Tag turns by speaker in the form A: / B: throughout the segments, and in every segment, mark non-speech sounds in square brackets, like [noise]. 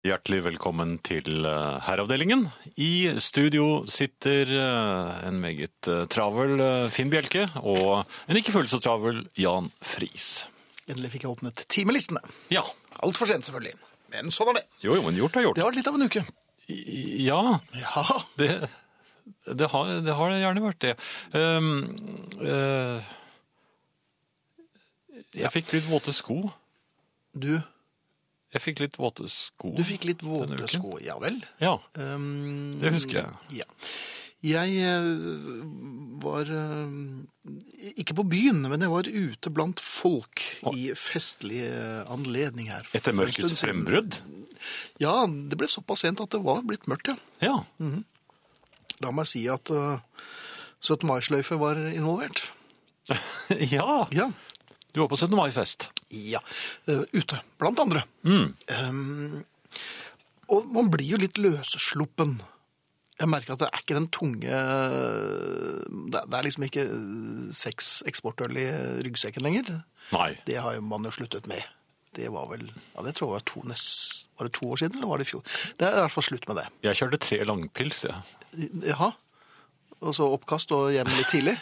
A: Hjertelig velkommen til eh, Herreavdelingen. I studio sitter eh, en meget eh, travel eh, Finn Bjelke og en ikke fullt så travel Jan Friis.
B: Endelig fikk jeg åpnet timelistene.
A: Ja.
B: Altfor sent, selvfølgelig. Men sånn er det.
A: Jo, jo, men gjort er gjort.
B: Det har vært litt av en uke.
A: I- Ja,
B: Ja,
A: det, det, har, det har gjerne vært det. Ehm, eh,
B: Ja.
A: jeg fikk litt våte sko.
B: du,
A: Jeg fikk litt våte sko.
B: du fikk litt
A: Denne
B: våte
A: uken?
B: sko. Ja vel.
A: Ja,
B: Um,
A: det husker jeg.
B: Ja. Jeg eh, var eh, ikke på byen, men jeg var ute blant folk i festlig eh, anledning her. for
A: Etter
B: en
A: mørkets
B: stund siden.
A: frembrudd.
B: Ja, det ble såpass sent at det var blitt mørkt, ja.
A: Ja,
B: La meg si at eh, 17. mai-sløyfe var involvert. Mm.
A: [laughs] ja.
B: Ja.
A: Du var på 17. mai-fest.
B: Ja, eh, ute, blant andre. Um, og man blir jo litt løssluppen. Jeg merker at det er ikke den tunge Det det er liksom ikke seks eksportøl i eh, ryggsekken lenger.
A: Nei.
B: Det har jo man jo sluttet med. Det var vel ja, det tror jeg var to, nest, var det to år siden, eller var det i fjor? Det er i hvert fall slutt med det.
A: Jeg kjørte tre langpils, jeg.
B: Jaha. Og så oppkast og hjem litt tidlig.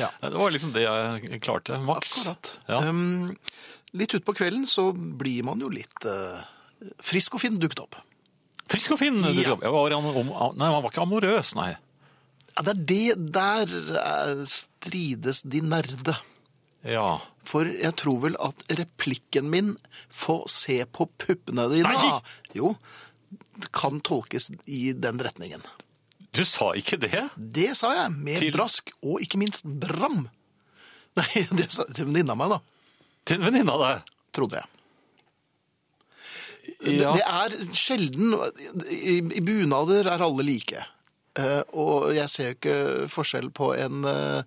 B: Ja.
A: Det var liksom det jeg klarte, maks.
B: Akkurat.
A: Ja.
B: Um, litt utpå kvelden så blir man jo litt eh, frisk og fin dukket opp.
A: Frisk og fin! du
B: Ja.
A: kom. Jeg var, an- om, nei, han var ikke amorøs, nei.
B: Ja, det er det der eh, strides de nerde.
A: Ja.
B: For jeg tror vel at replikken min 'få se på puppene dine'
A: Nei!
B: Jo, kan tolkes i den retningen.
A: Du sa ikke det?
B: Det sa jeg, med
A: Til-
B: brask og ikke minst bram. [laughs] Nei, det sa til venninna mi, da.
A: Til en venninne av deg?
B: Trodde jeg.
A: Ja.
B: Det, det er sjelden I, i bunader er alle like. Eh, og jeg ser jo ikke forskjell på en uh,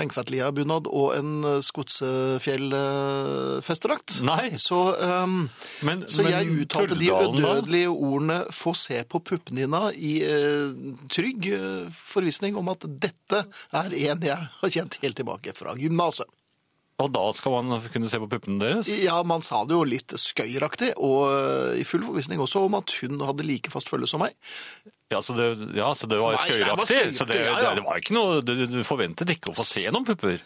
B: Hengfatlia-bunad og en uh, Skotsefjell-festerakt.
A: Nei.
B: Så, ehm,
A: Men,
B: så
A: men
B: jeg uttalte de
A: Turdalen, da?
B: udødelige ordene 'få se på puppene dine' i eh, trygg eh, forvissning om at dette er en jeg har kjent helt tilbake fra gymnaset.
A: Og da skal man kunne se på puppene deres?
B: Ja, man sa det jo litt skøyeraktig, og eh, i full forvisning også om at hun hadde like fast følge som meg.
A: Ja, så det, ja, så det var
B: Så nei, jeg var
A: skøyeraktig? Så det,
B: skøyeraktig, ja, ja.
A: det var ikke noe du, du forventet ikke å få se noen pupper?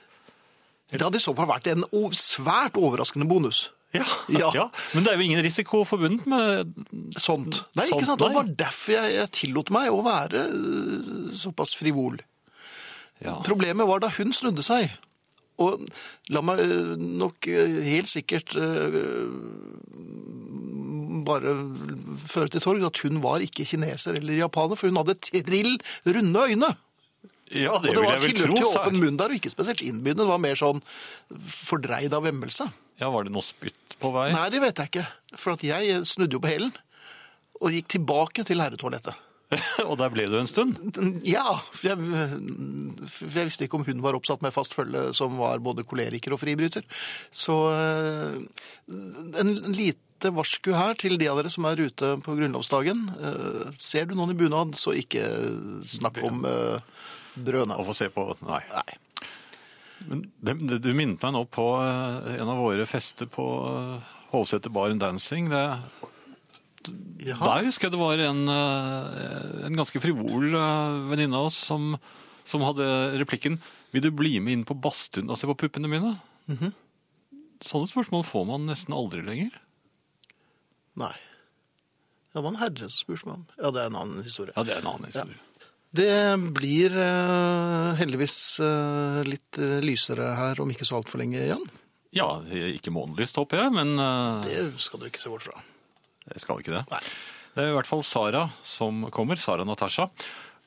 B: Det hadde i så fall vært en o- svært overraskende bonus.
A: Ja.
B: Ja.
A: Men det er jo ingen risiko forbundet med
B: Sånt. Nei,
A: Sånt,
B: ikke sant? Og Det
A: nei.
B: var derfor jeg, jeg tillot meg å være eh, såpass frivol.
A: ja.
B: Problemet var da hun snudde seg. Og la meg eh, nok eh, helt sikkert eh, bare føre til torg at hun var ikke kineser eller japaner, for hun hadde trill runde øyne.
A: ja, det,
B: Og det
A: vil
B: var
A: jeg vel
B: tilløp
A: tro.
B: til
A: sa jeg.
B: åpen munn der, og ikke spesielt innbydende. Det var mer sånn fordreid av vemmelse.
A: Ja, Var det noe spytt på vei?
B: Nei, det vet jeg ikke. For at jeg snudde jo på hælen og gikk tilbake til herretoalettet.
A: [laughs] og der ble du en stund?
B: Ja, for jeg, for jeg visste ikke om hun var oppsatt med fast følge som var både koleriker og fribryter. Så eh, en lite varsku her til de av dere som er ute på grunnlovsdagen. Eh, Ser du noen i bunad, så ikke snakk om eh, brødene.
A: Å få se på Nei.
B: Nei.
A: Men det, det, du minnet meg nå på eh, en av våre fester på eh, Hovseter Bar and Dancing. Det,
B: Jaha.
A: der husker jeg det var en, eh, en ganske frivol eh, venninne av oss som, som hadde replikken 'Vil du bli med inn på badstuen og se på puppene mine?' Mhm. Sånne spørsmål får man nesten aldri lenger.
B: Nei. Det var en herre som spurte meg om. Ja, det er en annen historie.
A: Ja, det er en annen historie.
B: Det blir eh, heldigvis eh, litt eh, lysere her om ikke så altfor lenge, Jan.
A: Ja, ikke månelyst, håper jeg, men eh,
B: Det skal du ikke se bort fra.
A: Jeg skal ikke det.
B: Nei.
A: Det er i hvert fall Sara som kommer, Sara Natasha.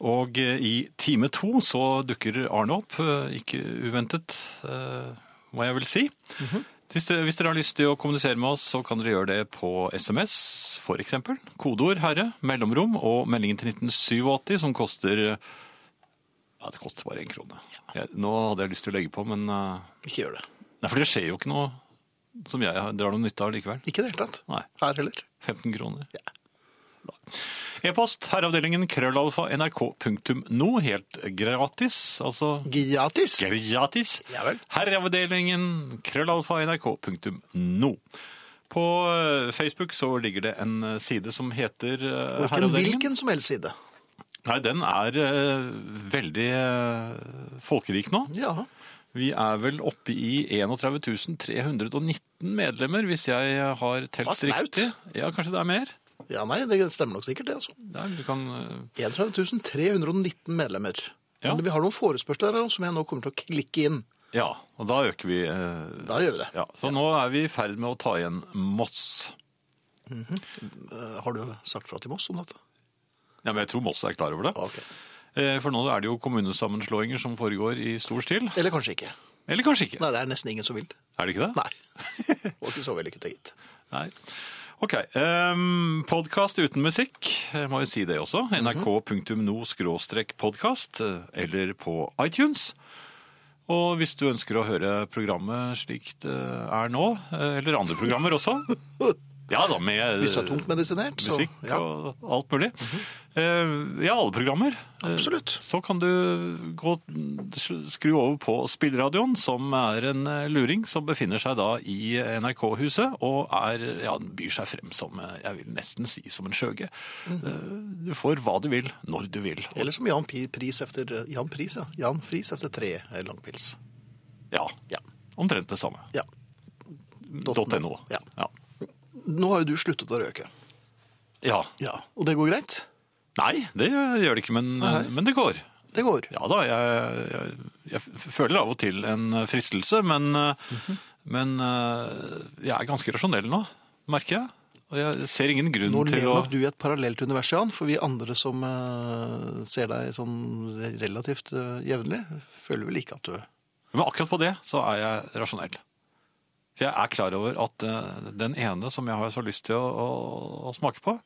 A: Og eh, i time to så dukker Arne opp, eh, ikke uventet, eh, må jeg vel si. hvis, dere, hvis dere har lyst til å kommunisere med oss, så kan dere gjøre det på SMS, for eksempel. Kodeord 'herre', mellomrom og meldingen til 1987, som koster eh, Ja, det koster bare én krone. Jeg, nå hadde jeg lyst til å legge på, men eh,
B: Ikke gjør det.
A: Nei, for det skjer jo ikke noe som jeg har- drar noe nytte av likevel.
B: Ikke i det hele tatt.
A: Nei.
B: Her heller.
A: 15 kroner. Da. E-post herreavdelingen krøllalfa nrk.no, helt gratis. Altså
B: Gratis!
A: gratis.
B: Ja vel.
A: Herreavdelingen krøllalfa nrk.no. På eh, Facebook så ligger det en eh, side som heter eh,
B: Og ikke en
A: Herreavdelingen.
B: hvilken som helst side.
A: Nei, den er eh, veldig eh, folkerik nå.
B: Ja.
A: Vi er vel oppe i 31 319 medlemmer, hvis jeg har
B: Hva
A: telt
B: snaut.
A: riktig. Ja, kanskje det er mer?
B: ja, nei, det stemmer nok sikkert det, altså.
A: Nei, du kan... eh,
B: 31 319 medlemmer.
A: Ja.
B: Men vi har noen forespørsler her også, som jeg nå kommer til å klikke inn.
A: Ja, og da øker vi. eh,
B: Da gjør vi det.
A: Ja, så nå er vi i ferd med å ta igjen Moss.
B: Eh, Har du sagt fra til Moss om dette?
A: Ja, men jeg tror Moss er klar over det.
B: Ok.
A: Eh, For nå er det jo kommunesammenslåinger som foregår i stor stil.
B: Eller kanskje ikke.
A: Eller kanskje ikke.
B: Nei, det er nesten ingen som vil.
A: Er det ikke det?
B: Nei.
A: [laughs]
B: Det var ikke så vellykket, gitt.
A: Nei. Ok, um, podcast uten musikk, jeg må jo si det også.
B: Mhm.
A: nrk.no-podcast, eh, eller på iTunes. Og hvis du ønsker å høre programmet slik det er nå, eh, eller andre programmer
B: [laughs]
A: også, ja da, med
B: Hvis du er tungt medisinert, så
A: musikk
B: ja,
A: og alt mulig. Eh, Ja, alle programmer. Eh,
B: absolutt.
A: Så kan du gå, skru over på spillradioen, som er en eh, luring som befinner seg da i NRK-huset, og er, ja, den byr seg frem som, eh, jeg vil nesten si, som en skjøge.
B: Mhm.
A: Eh, Du får hva du vil, når du vil.
B: Eller som Jan Pi- Pris efter, eh, Jan Pris, ja. Jan Friis efter tre eh, langpils.
A: Ja,
B: Ja.
A: omtrent det samme.
B: ja.
A: .no.
B: Ja.
A: Ja.
B: Nå har jo du sluttet å røyke.
A: ja.
B: Ja. Og det går greit?
A: Nei, det gjør det ikke, men, eh,
B: Nei.
A: men det går.
B: Det går.
A: Ja da, jeg, jeg, jeg føler av og til en fristelse, men, eh,
B: Mhm.
A: men eh, jeg er ganske rasjonell nå, merker jeg. Og jeg ser ingen grunn
B: Nå
A: til
B: lever
A: å
B: nok du i et parallelt univers, Jan, for vi andre som eh, ser deg sånn relativt eh, jevnlig, føler vel ikke at du
A: Men akkurat på det så er jeg rasjonell. For jeg er klar over at eh, den ene som jeg har så lyst til å, å, å smake på,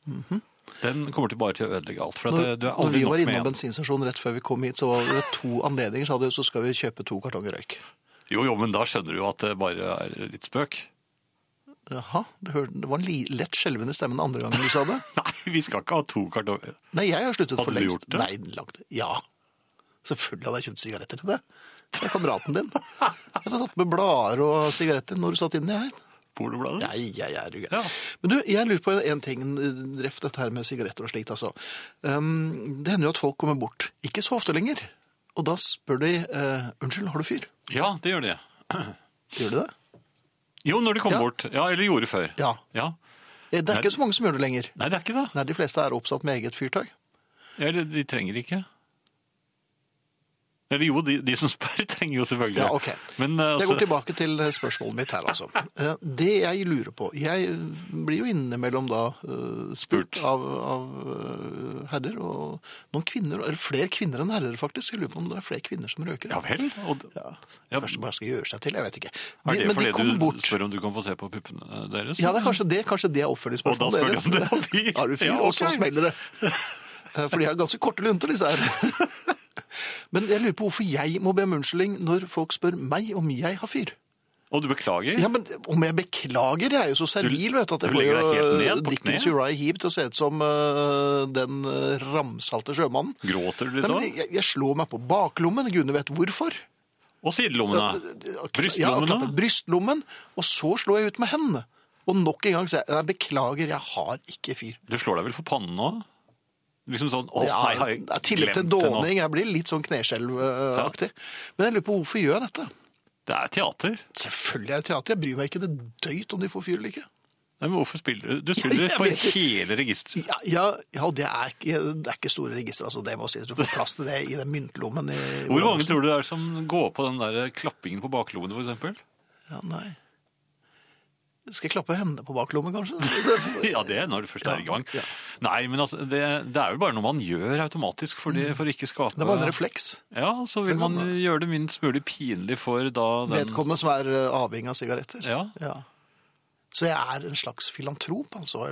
A: den kommer til bare til å ødelegge alt. For at
B: Mhm. Når,
A: det- du er
B: når vi
A: aldri nok
B: var
A: med
B: innom
A: en.
B: bensinstasjonen rett før vi kom hit, så var det to anledninger, sa du, så skal vi kjøpe to kartonger røyk.
A: Jo, jo, men da skjønner du jo at det bare er litt spøk. [laughs]
B: Jaha, det, hør- det var en li- lett skjelvende stemme den andre gangen du sa det.
A: Nei, vi skal ikke ha to kartonger.
B: Nei, jeg har sluttet
A: Hadde
B: for
A: du
B: lengst.
A: gjort det?
B: Nei, langt. Ja. Selvfølgelig hadde jeg kjøpt sigaretter til det. Det er kameraten din. Jeg hadde tatt med blader og sigaretter når du satt inne her.
A: Polobladet?
B: Nei, jeg er jo gæren.
A: Ja.
B: Men du, jeg lurer på en, en ting, eh, ref dette her med sigaretter og slikt, altså. Um, det hender jo at folk kommer bort, ikke så ofte lenger, og da spør de, eh, unnskyld, har du fyr?
A: ja, det gjør det.
B: Gjør de det?
A: Jo, når de kom
B: Ja.
A: bort. Ja, eller gjorde før.
B: Ja.
A: Ja.
B: Eh, Det er ikke så mange som gjør det lenger.
A: Nei, det er ikke det.
B: Nei, de fleste er oppsatt med eget fyrtøy.
A: Eller de trenger ikke. Eller jo, de, de som spør [laughs] trenger jo selvfølgelig.
B: Ja, ok.
A: Men eh,
B: Jeg
A: altså,
B: går tilbake til spørsmålet mitt her, altså. Eh, Det jeg lurer på Jeg blir jo innimellom da eh, spurt
A: Spurt.
B: av, av eh, herrer og noen kvinner, eller flere kvinner enn herrer, faktisk. Jeg lurer på om det er flere kvinner som røker.
A: ja vel? Og,
B: Ja.
A: Ja.
B: Kanskje man skal gjøre seg til, jeg vet ikke. De,
A: er det
B: men de
A: fordi
B: kommer
A: du
B: bort.
A: spør om du kan få se på puppene deres?
B: Ja, det er kanskje det, kanskje det er
A: Og da
B: oppfølgingsspørsmålet
A: spør de
B: deres.
A: om du har
B: [laughs]
A: fyr.
B: Har du fyr?
A: Ja,
B: Og så
A: ok.
B: smeller det. [laughs] Eh, For de har ganske korte lunter, disse her. [laughs] Men jeg lurer på hvorfor jeg må be om unnskyldning når folk spør meg om jeg har fyr.
A: Og du beklager?
B: Ja, men Om jeg beklager? Jeg er jo så servil, vet du.
A: du
B: At jeg får
A: legger deg helt
B: jo eh,
A: ned på
B: Dickens
A: kne?
B: Uriah Heap til å se ut som eh, den eh, ramsalte sjømannen.
A: Gråter du
B: Nei,
A: litt da?
B: men jeg, jeg slår meg på baklommen, gudene vet hvorfor.
A: Og sidelommene?
B: Ja, og
A: Brystlommene?
B: klapper brystlommen, og så slår jeg ut med hendene. Og nok en gang sier jeg nei, beklager, jeg har ikke fyr.
A: Du slår deg vel for pannen nå? Liksom sånn Å,
B: ja,
A: nei, har jeg
B: det er tilløp til
A: glemt det nå?
B: dåning. Jeg blir litt sånn kneskjelvaktig. Men jeg lurer på hvorfor gjør jeg dette?
A: Det er teater.
B: Selvfølgelig er det teater. Jeg bryr meg ikke det døyt om de får fyr eller ikke.
A: Nei, men hvorfor spiller du? Du spiller
B: jeg
A: på
B: vet ikke.
A: hele registeret.
B: Ja, ja, ja det, er ikke, det er ikke store registre, altså. Det må sies. Du får plass til det i den myntlommen. I,
A: Hvor mange tror du det er som går på den der klappingen på baklommen, for eksempel?
B: Ja, nei. Skal jeg klappe hendene på baklommen, kanskje? [laughs]
A: [laughs] Ja, det er når du først er i gang.
B: Ja.
A: Nei, men altså, det, det er jo bare noe man gjør automatisk for, det, for å ikke skape
B: Mm. Det er bare en refleks.
A: Ja, så vil man
B: man-
A: gjøre det minst mulig pinlig for da den
B: Vedkommende som er eh, avhengig av sigaretter.
A: Ja.
B: Så jeg er en slags filantrop, altså.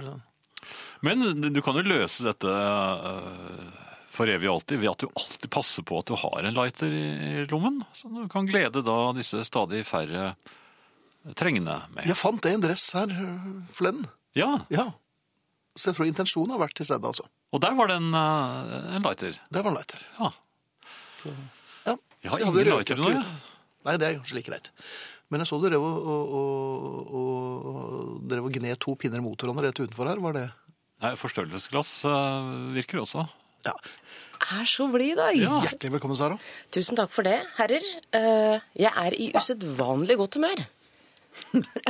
A: Men du kan jo løse dette øh, for evig og alltid ved at du alltid passer på at du har en lighter i i lommen. Så du kan glede da disse stadig færre trengende med.
B: Jeg fant det i en dress her eh, forleden.
A: Ja,
B: Ja. Så jeg tror intensjonen har vært til stede, altså.
A: og der var det en, øh, en lighter.
B: Der var en lighter.
A: Ja.
B: Ja.
A: Jeg har
B: Så hadde
A: ingen
B: røykjakke
A: lighter nå, jeg.
B: uten. Nei, det er kanskje like greit. Men jeg så dere og, og, og, og dere var gned to pinner mot hverandre rett utenfor her. Var det
A: Nei, Forstørrelsesglass eh, virker også.
B: Ja.
C: Er så blid i dag.
B: Hjertelig velkommen, Sara.
C: Tusen takk for det, herrer. Eh, Jeg er i usedvanlig
B: [laughs]
C: godt humør.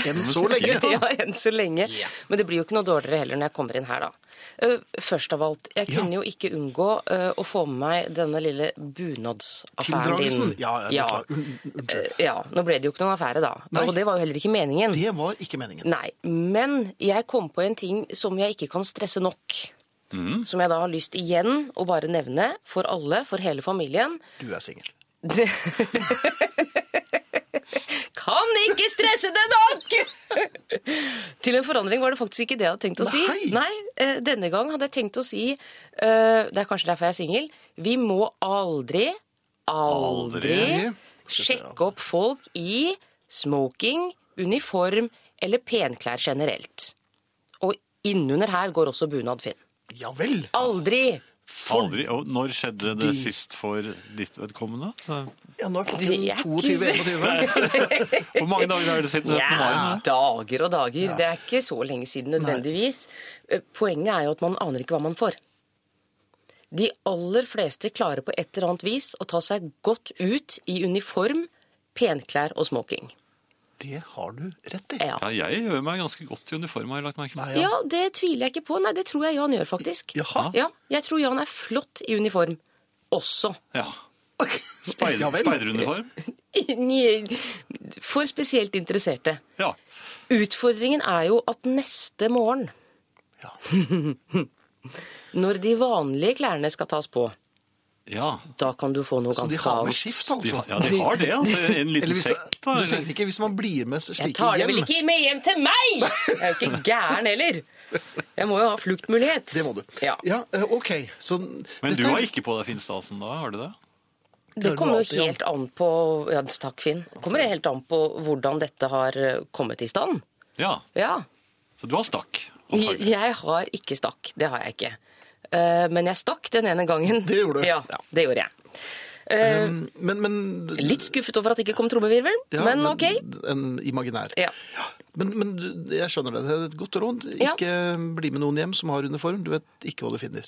B: Enn så lenge.
C: [laughs] Ja, enn så lenge. Men det blir jo ikke noe dårligere heller når jeg kommer inn her, da. Eh, Først av alt, jeg kunne jo ikke unngå eh, å få med meg denne lille bunadsaffæren din.
B: Tildragelsen? Ja, ja, beklager. Un- unnskyld.
C: Eh, Ja, nå ble det jo ikke noen affære da.
B: Nei.
C: Og det var jo heller ikke meningen.
B: Det var ikke meningen.
C: Nei, men jeg kom på en ting som jeg ikke kan stresse nok.
B: Mm.
C: Som jeg da har lyst igjen å bare nevne for alle, for hele familien.
B: Du er singel.
C: Det... [laughs] kan ikke stresse det nok! [laughs] Til en forandring var det faktisk ikke det jeg hadde tenkt å si.
B: Nei.
C: eh, Denne gang hadde jeg tenkt å si, eh, det er kanskje derfor jeg er singel, vi må aldri, aldri,
B: Aldri.
C: sjekke opp folk i smoking, uniform eller penklær generelt. Og innunder her går også bunad, Finn.
B: Ja vel.
C: Aldri!
A: Aldri. Og når skjedde det sist for ditt vedkommende? Så-
B: Ja, nå er
C: Det
B: klokken
C: er ikke
B: 22.21.
A: Hvor mange dager er det siden 17. mai?
C: Ja, dager og dager. Det er ikke så lenge siden nødvendigvis. Eh, Poenget er jo at man aner ikke hva man får. De aller fleste klarer på et eller annet vis å ta seg godt ut i uniform, penklær og smoking.
B: Det har du rett i.
C: Ja.
A: Ja, jeg gjør meg ganske godt i uniform, har jeg lagt merke til.
B: Nei,
C: ja, det tviler jeg ikke på. Nei, det tror jeg Jan gjør, faktisk.
B: Jaha.
C: Ja, jeg tror Jan er flott i uniform. Også. [laughs]
A: Ja.
B: Ja
A: Speider,
B: vel.
A: speideruniform?
C: For spesielt interesserte.
A: Ja.
C: Utfordringen er jo at neste morgen,
B: Ja.
C: når de vanlige klærne skal tas på,
A: ja.
C: da kan du få noe
B: Så de
C: ganske
B: har med
C: annet.
B: skift,
A: De har,
B: altså?
A: ja, de har det.
B: [laughs]
A: Altså, en
B: Eller
A: liten
B: hvis,
A: sekk,
B: du
A: da.
B: skjønner ikke, hvis man blir med slike
C: Jeg tar det vel
B: hjem
C: ikke med hjem til meg! Jeg er jo ikke gæren heller. Jeg må jo ha fluktmulighet.
B: Det må du.
C: Ja.
B: eh, OK. Så
A: Men
B: dette
A: du
B: er-
A: har ikke på deg Finnstasen da, har du det?
C: Det
B: hører du
C: kommer
B: alltid,
C: jo helt an på Ja, takk, Finn. Kommer det helt an på hvordan dette har eh, kommet i stand?
A: Ja.
C: Ja.
A: Så du har stakk?
C: Jeg
A: antagelig.
C: jeg har ikke stakk. Det har jeg ikke. Eh, Men jeg stakk den ene gangen.
B: Det gjorde du.
C: Ja,
B: Ja.
C: det gjorde jeg. Eh,
B: Men, men
C: Litt skuffet over at det ikke kom trommevirvel,
B: ja,
C: men ok.
B: En imaginær.
C: Ja.
B: Men, men du- jeg skjønner det. Det er et godt råd.
C: Ja.
B: Ikke bli med noen hjem som har uniform. Du vet ikke hva du finner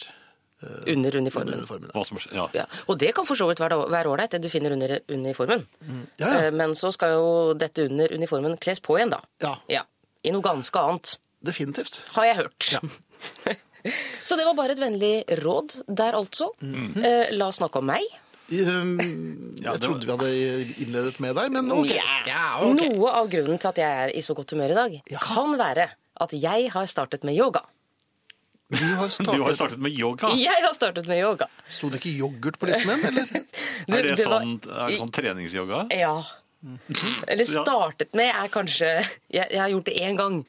C: Under
B: under
C: uniformen.
B: uniformen.
A: Hva som, ja.
C: Ja. Og det kan for så vidt være være ålreit, det du finner under uniformen.
B: Ja, ja.
C: Eh, Men så skal jo dette under uniformen kles på igjen, da.
B: Ja.
C: I noe ganske annet,
B: Definitivt.
C: har jeg hørt. [laughs] så det var bare et vennlig råd der, altså.
B: Mhm.
C: Eh, La oss snakke om meg. [laughs]
B: Um,
A: Ja, det var-
B: jeg trodde vi hadde innledet med deg, men OK.
C: Ja.
B: ok.
C: Noe av grunnen til at jeg er i så godt humør i dag, kan være at jeg har startet med yoga.
B: Du har
A: [laughs]
B: startet,
A: Du har startet med yoga.
B: Ah.
C: Jeg har startet med yoga.
B: Sto det ikke yoghurt på listen din,
C: [laughs]
B: eller?
A: Er det,
C: var-
A: sånn, er det sånn treningsyoga?
C: Ja.
B: Mhm.
C: Eller startet med er kanskje Jeg, jeg har gjort det én gang.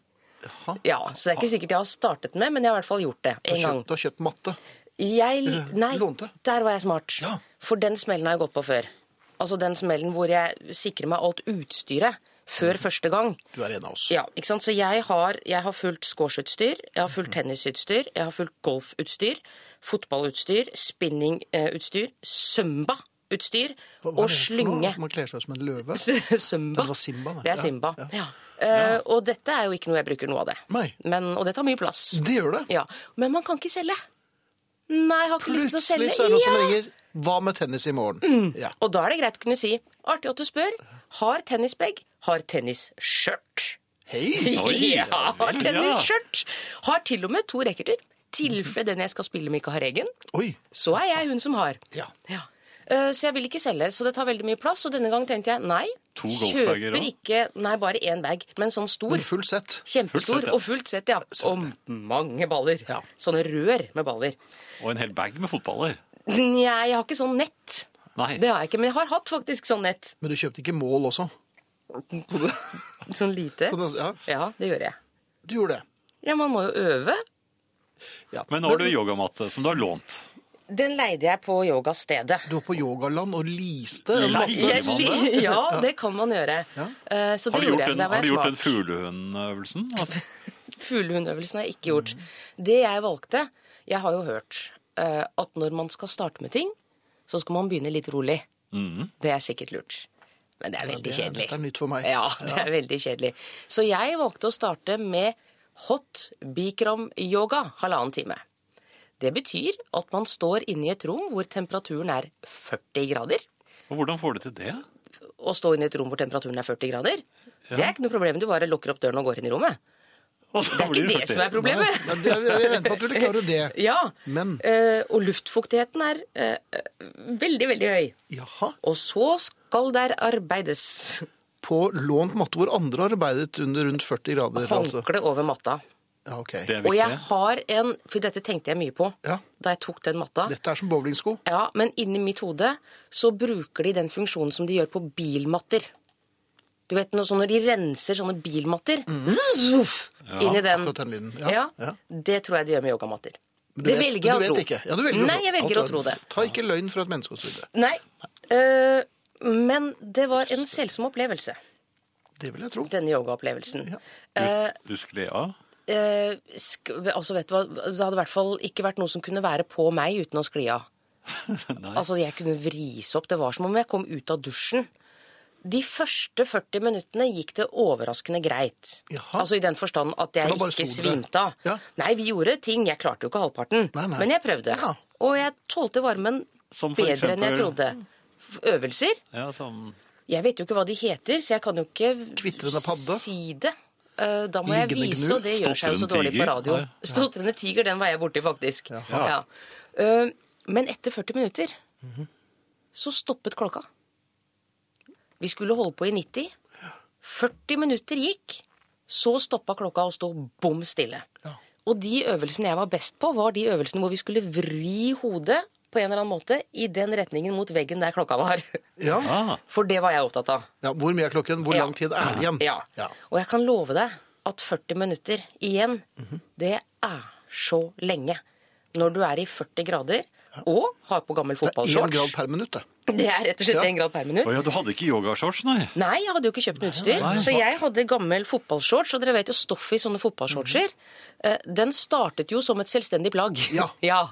C: Ja, Så det er ikke
B: Ah.
C: sikkert jeg har startet med, men jeg har i hvert fall gjort det
B: Du har
C: én gang.
B: kjøpt, du har kjøpt matte.
C: Jeg, nei,
B: lånte.
C: der var jeg smart.
B: Ja.
C: For den smellen har jeg gått på før. Altså den smellen hvor jeg sikrer meg alt utstyret før første gang.
B: Du er en av oss.
C: Ja, ikke sant? Så jeg har, jeg har fullt squashutstyr, jeg har fullt tennisutstyr, jeg har fullt golfutstyr, fotballutstyr, spinningutstyr, sømba-utstyr
B: Hva- hva er det for
C: og
B: noe?
C: slynge. [laughs]
B: At Man kler seg ut som en løve.
C: Simba.
B: Det var Simba, det.
C: Det er
B: Ja,
C: Simba.
B: ja.
C: Ja. Eh, og dette er jo ikke noe jeg bruker noe av det.
B: Nei.
C: Men, og det tar mye plass.
B: Det gjør det.
C: Ja. Men man kan ikke selge. Nei, jeg har ikke lyst til å selge.
B: Plutselig så er det noen som
C: Ja. Mm.
B: ringer. Hva med tennis i morgen? Ja.
C: Og da er det greit å kunne si artig at du spør. Har tennisbag, har tennisskjørt.
B: Hei!
C: Ja, har
A: vel,
C: tennisskjørt. Har til og med to racketer. tilfelle den jeg skal spille med, ikke har egen.
B: Oi.
C: Så er jeg hun som har.
B: Ja.
C: Eh, Så jeg vil ikke selge, så det tar veldig mye plass. Og denne gang tenkte jeg nei.
A: To golfbager
C: kjøper
A: også?
C: ikke Nei, bare én bag, men sånn stor.
B: Men fullt sett. Sånn,
C: Kjempestor
A: Fullt sett, ja.
C: og fullt sett, ja. Og mange baller.
B: Ja.
C: Sånne rør med baller.
A: Og en hel bag med fotballer.
C: Nja, jeg har ikke sånn nett.
A: Nei.
C: Det har jeg ikke, men jeg har hatt faktisk sånn nett.
B: Men du kjøpte ikke mål også?
C: Sånn lite.
B: Så det- ja,
C: Ja, det gjør jeg.
B: du gjorde det.
C: Ja, man må jo øve.
B: Ja.
A: Men nå har du yogamatte som du har lånt.
C: Den leide jeg på yogastedet.
B: Du var på yogaland og liste. en
A: Nei.
B: matte.
C: Jeg,
A: man det?
C: [laughs] ja, det kan man gjøre. Eh, Så det
A: Har du
C: gjorde
A: gjort
C: jeg. Så
A: den,
C: der
A: har
C: var
A: du
C: jeg
A: gjort den
C: smart.
A: fuglehundøvelsen? At-
C: Fuglehundøvelsen har jeg ikke gjort. Det jeg valgte Jeg har jo hørt eh, at når man skal starte med ting, så skal man begynne litt rolig. Det er sikkert lurt. Men det er veldig
B: det-
C: kjedelig.
B: dette er nytt for meg.
C: Ja, det er veldig kjedelig. Så jeg valgte å starte med hot bikram-yoga halvannen time. Det betyr at man står inne i et rom hvor temperaturen er 40 grader.
A: Og hvordan får du til det?
C: Å stå inne i et rom hvor temperaturen er 40 grader, det er ikke noe problem. Du bare lukker opp døren og går inn i rommet.
A: Og så
C: Det er
A: blir
C: ikke det som er
B: Nei,
C: problemet.
B: nei, det- jeg regnet med at du ville klare det.
C: Ja.
B: Men-
C: Eh, og luftfuktigheten er eh, eh, veldig, veldig høy.
B: Jaha.
C: Og så skal der arbeides.
B: På lånt matte hvor andre arbeidet under rundt 40 grader. Altså.
C: Håndkle over matta.
B: Ja, ok.
A: Det er
C: Og jeg
A: viktig.
C: har en For dette tenkte jeg mye på
B: Ja.
C: da jeg tok den matta.
B: Dette er som bowlingsko.
C: Ja, Men inni mitt hode så bruker de den funksjonen som de gjør på bilmatter. Du vet når, sånn, når de renser sånne bilmatter zuff, Inni den.
B: Mhm. akkurat den lyden. Ja,
C: Ja,
B: ja.
C: Det tror jeg de gjør med yogamatter.
B: Men
C: Det
B: vet-
C: velger
B: men
C: jeg å
B: du
C: tro.
B: vet Ikke. Ja, du velger å
C: Nei,
B: tro.
C: jeg velger
B: Alt
C: å tro
B: er-
C: det.
B: Ta ikke løgn fra et menneske og så videre.
C: Nei. eh, men det var en selsom opplevelse,
B: Det vil jeg tro.
C: denne yogaopplevelsen.
B: Ja.
A: Du, du skulle ja. [laughs]
C: Eh, sk altså, vet du hva, det hadde i hvert fall ikke vært noe som kunne være på meg uten å skli av.
A: Nei.
C: Altså, jeg kunne vris opp. Det var som om jeg kom ut av dusjen. De første 40 minuttene gikk det overraskende greit.
B: Jaha.
C: Altså i den forstand at jeg
B: da bare
C: ikke
B: sto dere?
C: svimte av.
B: Ja.
C: Nei, vi gjorde ting. Jeg klarte jo ikke halvparten.
B: Nei, nei.
C: Men jeg prøvde.
B: Ja.
C: Og jeg tålte varmen
A: Som for
C: bedre enn jeg
A: eksempel-
C: trodde. F- Øvelser.
A: Ja, sånn.
C: Jeg vet jo ikke hva de heter, så jeg kan jo ikke
B: Kvitrende padde?
C: si det. Eh, Da må jeg
B: Liggende
C: vise,
B: gnu?
C: og det gjør seg jo så
A: Stotrende
C: dårlig på
A: tiger?
C: radio.
A: Nei.
C: Stotrende tiger, den var jeg borti, faktisk.
A: Ja.
C: Ja. Eh, Men etter 40 minutter så stoppet klokka. Vi skulle holde på i 90. 40 minutter gikk, så stoppa klokka og sto bom stille.
B: Ja.
C: Og de øvelsene jeg var best på, var de øvelsene hvor vi skulle vri hodet på en eller annen måte i den retningen mot veggen der klokka var. [laughs]
B: Ja.
A: Ah,
C: For det var jeg opptatt av.
B: Ja, hvor mye er klokken? Hvor
C: Ja.
B: lang tid er det igjen?
C: Ja.
B: Mm. Ja.
C: Og jeg kan love deg at 40 minutter igjen,
B: Mhm.
C: det er så lenge. Når du er i 40 grader og har på gammel
B: Det er én grad
C: fotballshorts.
B: per minutt, det.
C: [laughs] Det er rett og slett
B: Ja.
C: én grad per minutt.
A: Å ja, du hadde ikke yogashorts, nei?
C: Nei, jeg hadde jo ikke kjøpt noe utstyr.
A: nei.
C: Så jeg hadde gammel fotballshorts, og dere vet jo stoffet i sånne fotballshortser. eh, Den startet jo som et selvstendig plagg.
B: Mhm.
C: [laughs]
B: Ja.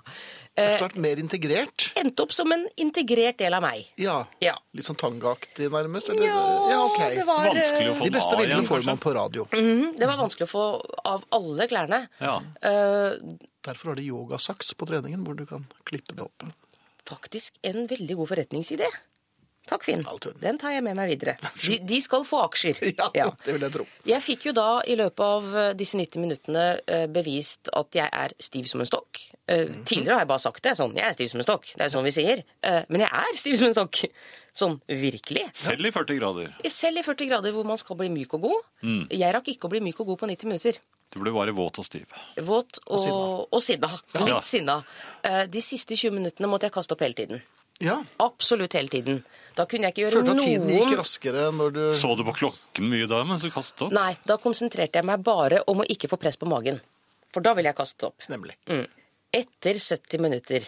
B: Det
C: Eh,
B: er klart mer integrert.
C: Endte opp som en integrert del av meg.
B: Ja.
C: Ja.
B: Litt sånn tangaaktig, nærmest? Eller? ok.
C: det var, eh,
A: Vanskelig å få
B: De
A: den
B: beste
A: av igjen,
B: bildene får man
A: kanskje?
B: på radio.
C: mhm, det var vanskelig å få av alle klærne.
A: Ja.
C: Eh,
B: Derfor har de yogasaks på treningen, hvor du kan klippe det opp.
C: faktisk en veldig god forretningsidé. Takk, Finn.
B: All turen.
C: Den tar jeg med meg videre. De, de skal få aksjer.
B: [laughs] Ja,
C: [laughs] Ja.
B: det vil jeg tro.
C: Jeg fikk jo da i løpet av eh, disse 90 minuttene eh, bevist at jeg er stiv som en stokk. Eh, Tidligere har jeg bare sagt det sånn. Jeg er stiv som en stokk. Det er jo sånn vi sier. Eh, Men jeg er stiv som en stokk. Sånn virkelig.
A: Selv i 40 grader.
C: Selv i 40 grader hvor man skal bli myk og god. Jeg rakk ikke å bli myk og god på 90 minutter.
A: Du ble bare våt og stiv.
C: Våt og, og sinna.
A: Ja.
C: Litt sinna. Eh, De siste 20 minuttene måtte jeg kaste opp hele tiden.
B: Ja.
C: Absolutt hele tiden. Da kunne jeg ikke gjøre
B: Følte at tiden gikk
C: noen
B: raskere når du
A: Så du på klokken mye da mens du kastet opp?
C: Nei, da konsentrerte jeg meg bare om å ikke få press på magen. For da ville jeg kastet opp.
B: Nemlig.
C: Mm. Etter 70 minutter.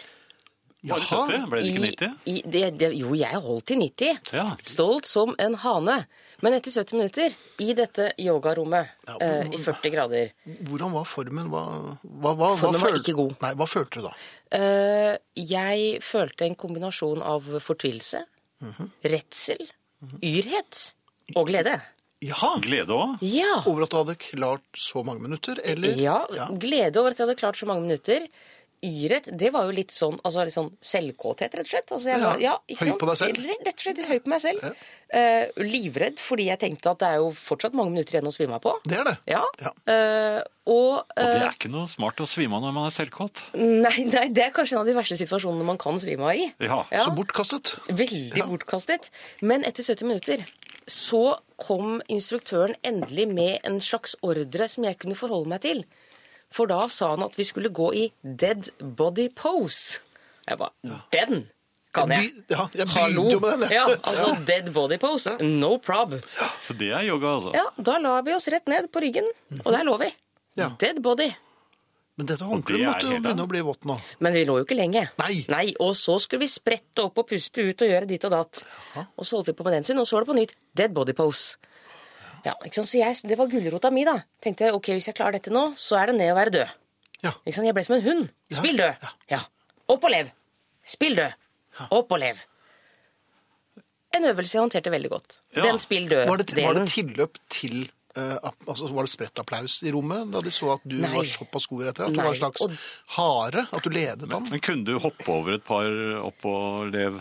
A: Bare 70? Ble det ikke 90?
C: I, i, det, det, jo, jeg holdt til 90.
A: Ja.
C: Stolt som en hane. Men etter 70 minutter, i dette yogarommet
B: Ja,
C: eh, i 40 grader
B: Hvordan var formen? Hva, hva, hva,
C: Formen
B: hva
C: var
B: føl-
C: ikke god.
B: Nei, hva følte du da?
C: eh, Jeg følte en kombinasjon av fortvilelse,
B: Mhm.
C: redsel, yrhet og glede.
B: Jaha!
A: Glede òg?
C: Ja!
B: Over at du hadde klart så mange minutter, eller?
C: Ja, glede over at jeg hadde klart så mange minutter. Yrett, det var jo litt sånn, altså litt sånn selvkåthet, rett og slett. Altså, jeg
B: Ja,
C: var, ja, ikke
B: høy
C: sant?
B: på deg selv.
C: Rett- Rett og slett høy på meg selv. Eh, livredd, fordi jeg tenkte at det er jo fortsatt mange minutter igjen å svime av på.
B: Det er det.
C: Ja.
B: Ja.
C: Eh, og
A: Og det
C: eh,
A: er ikke noe smart å svime av når man er selvkåt.
C: nei, nei, det er kanskje en av de verste situasjonene man kan svime av i.
A: Ja, så
B: Så bortkastet.
C: Veldig bortkastet. Men etter 70 minutter så kom instruktøren endelig med en slags ordre som jeg kunne forholde meg til. For da sa han at vi skulle gå i dead body pose. Jeg ba, den kan jeg.
B: By- ja, jeg begynte jo med den, jeg.
C: Ja,
B: [laughs]
C: altså dead body pose. No prob.
A: Så det er yoga, altså.
C: Ja, da la vi oss rett ned på ryggen, og der lå vi.
B: Ja.
C: Dead body.
B: Men dette håndkleet
A: det er
B: måtte jo
A: hele-
B: begynne å bli vått nå.
C: Men vi lå jo ikke lenge.
B: Nei.
C: Og så skulle vi sprette opp og puste ut og gjøre ditt og datt. Og så holdt vi på med den synd, og så var det på nytt dead body pose. Ja, ikke sant? Så jeg, Det var gulrota mi, da. Tenkte jeg, ok, Hvis jeg klarer dette nå, så er det ned å være død.
B: Ja.
C: Ikke sant? Jeg ble som en hund. Spill død. Ja. Opp og lev. Spill død. Opp og lev. en øvelse jeg håndterte veldig godt.
A: Ja.
C: Den spill død-delen.
B: Var det, var det tilløp til eh, app- altså Var det spredt applaus i rommet da de så at du
C: Nei.
B: var såpass god i dette? At du
C: Nei,
B: var en slags
C: og-
B: hare? At du ledet an?
A: Men kunne du hoppe over et par opp og lev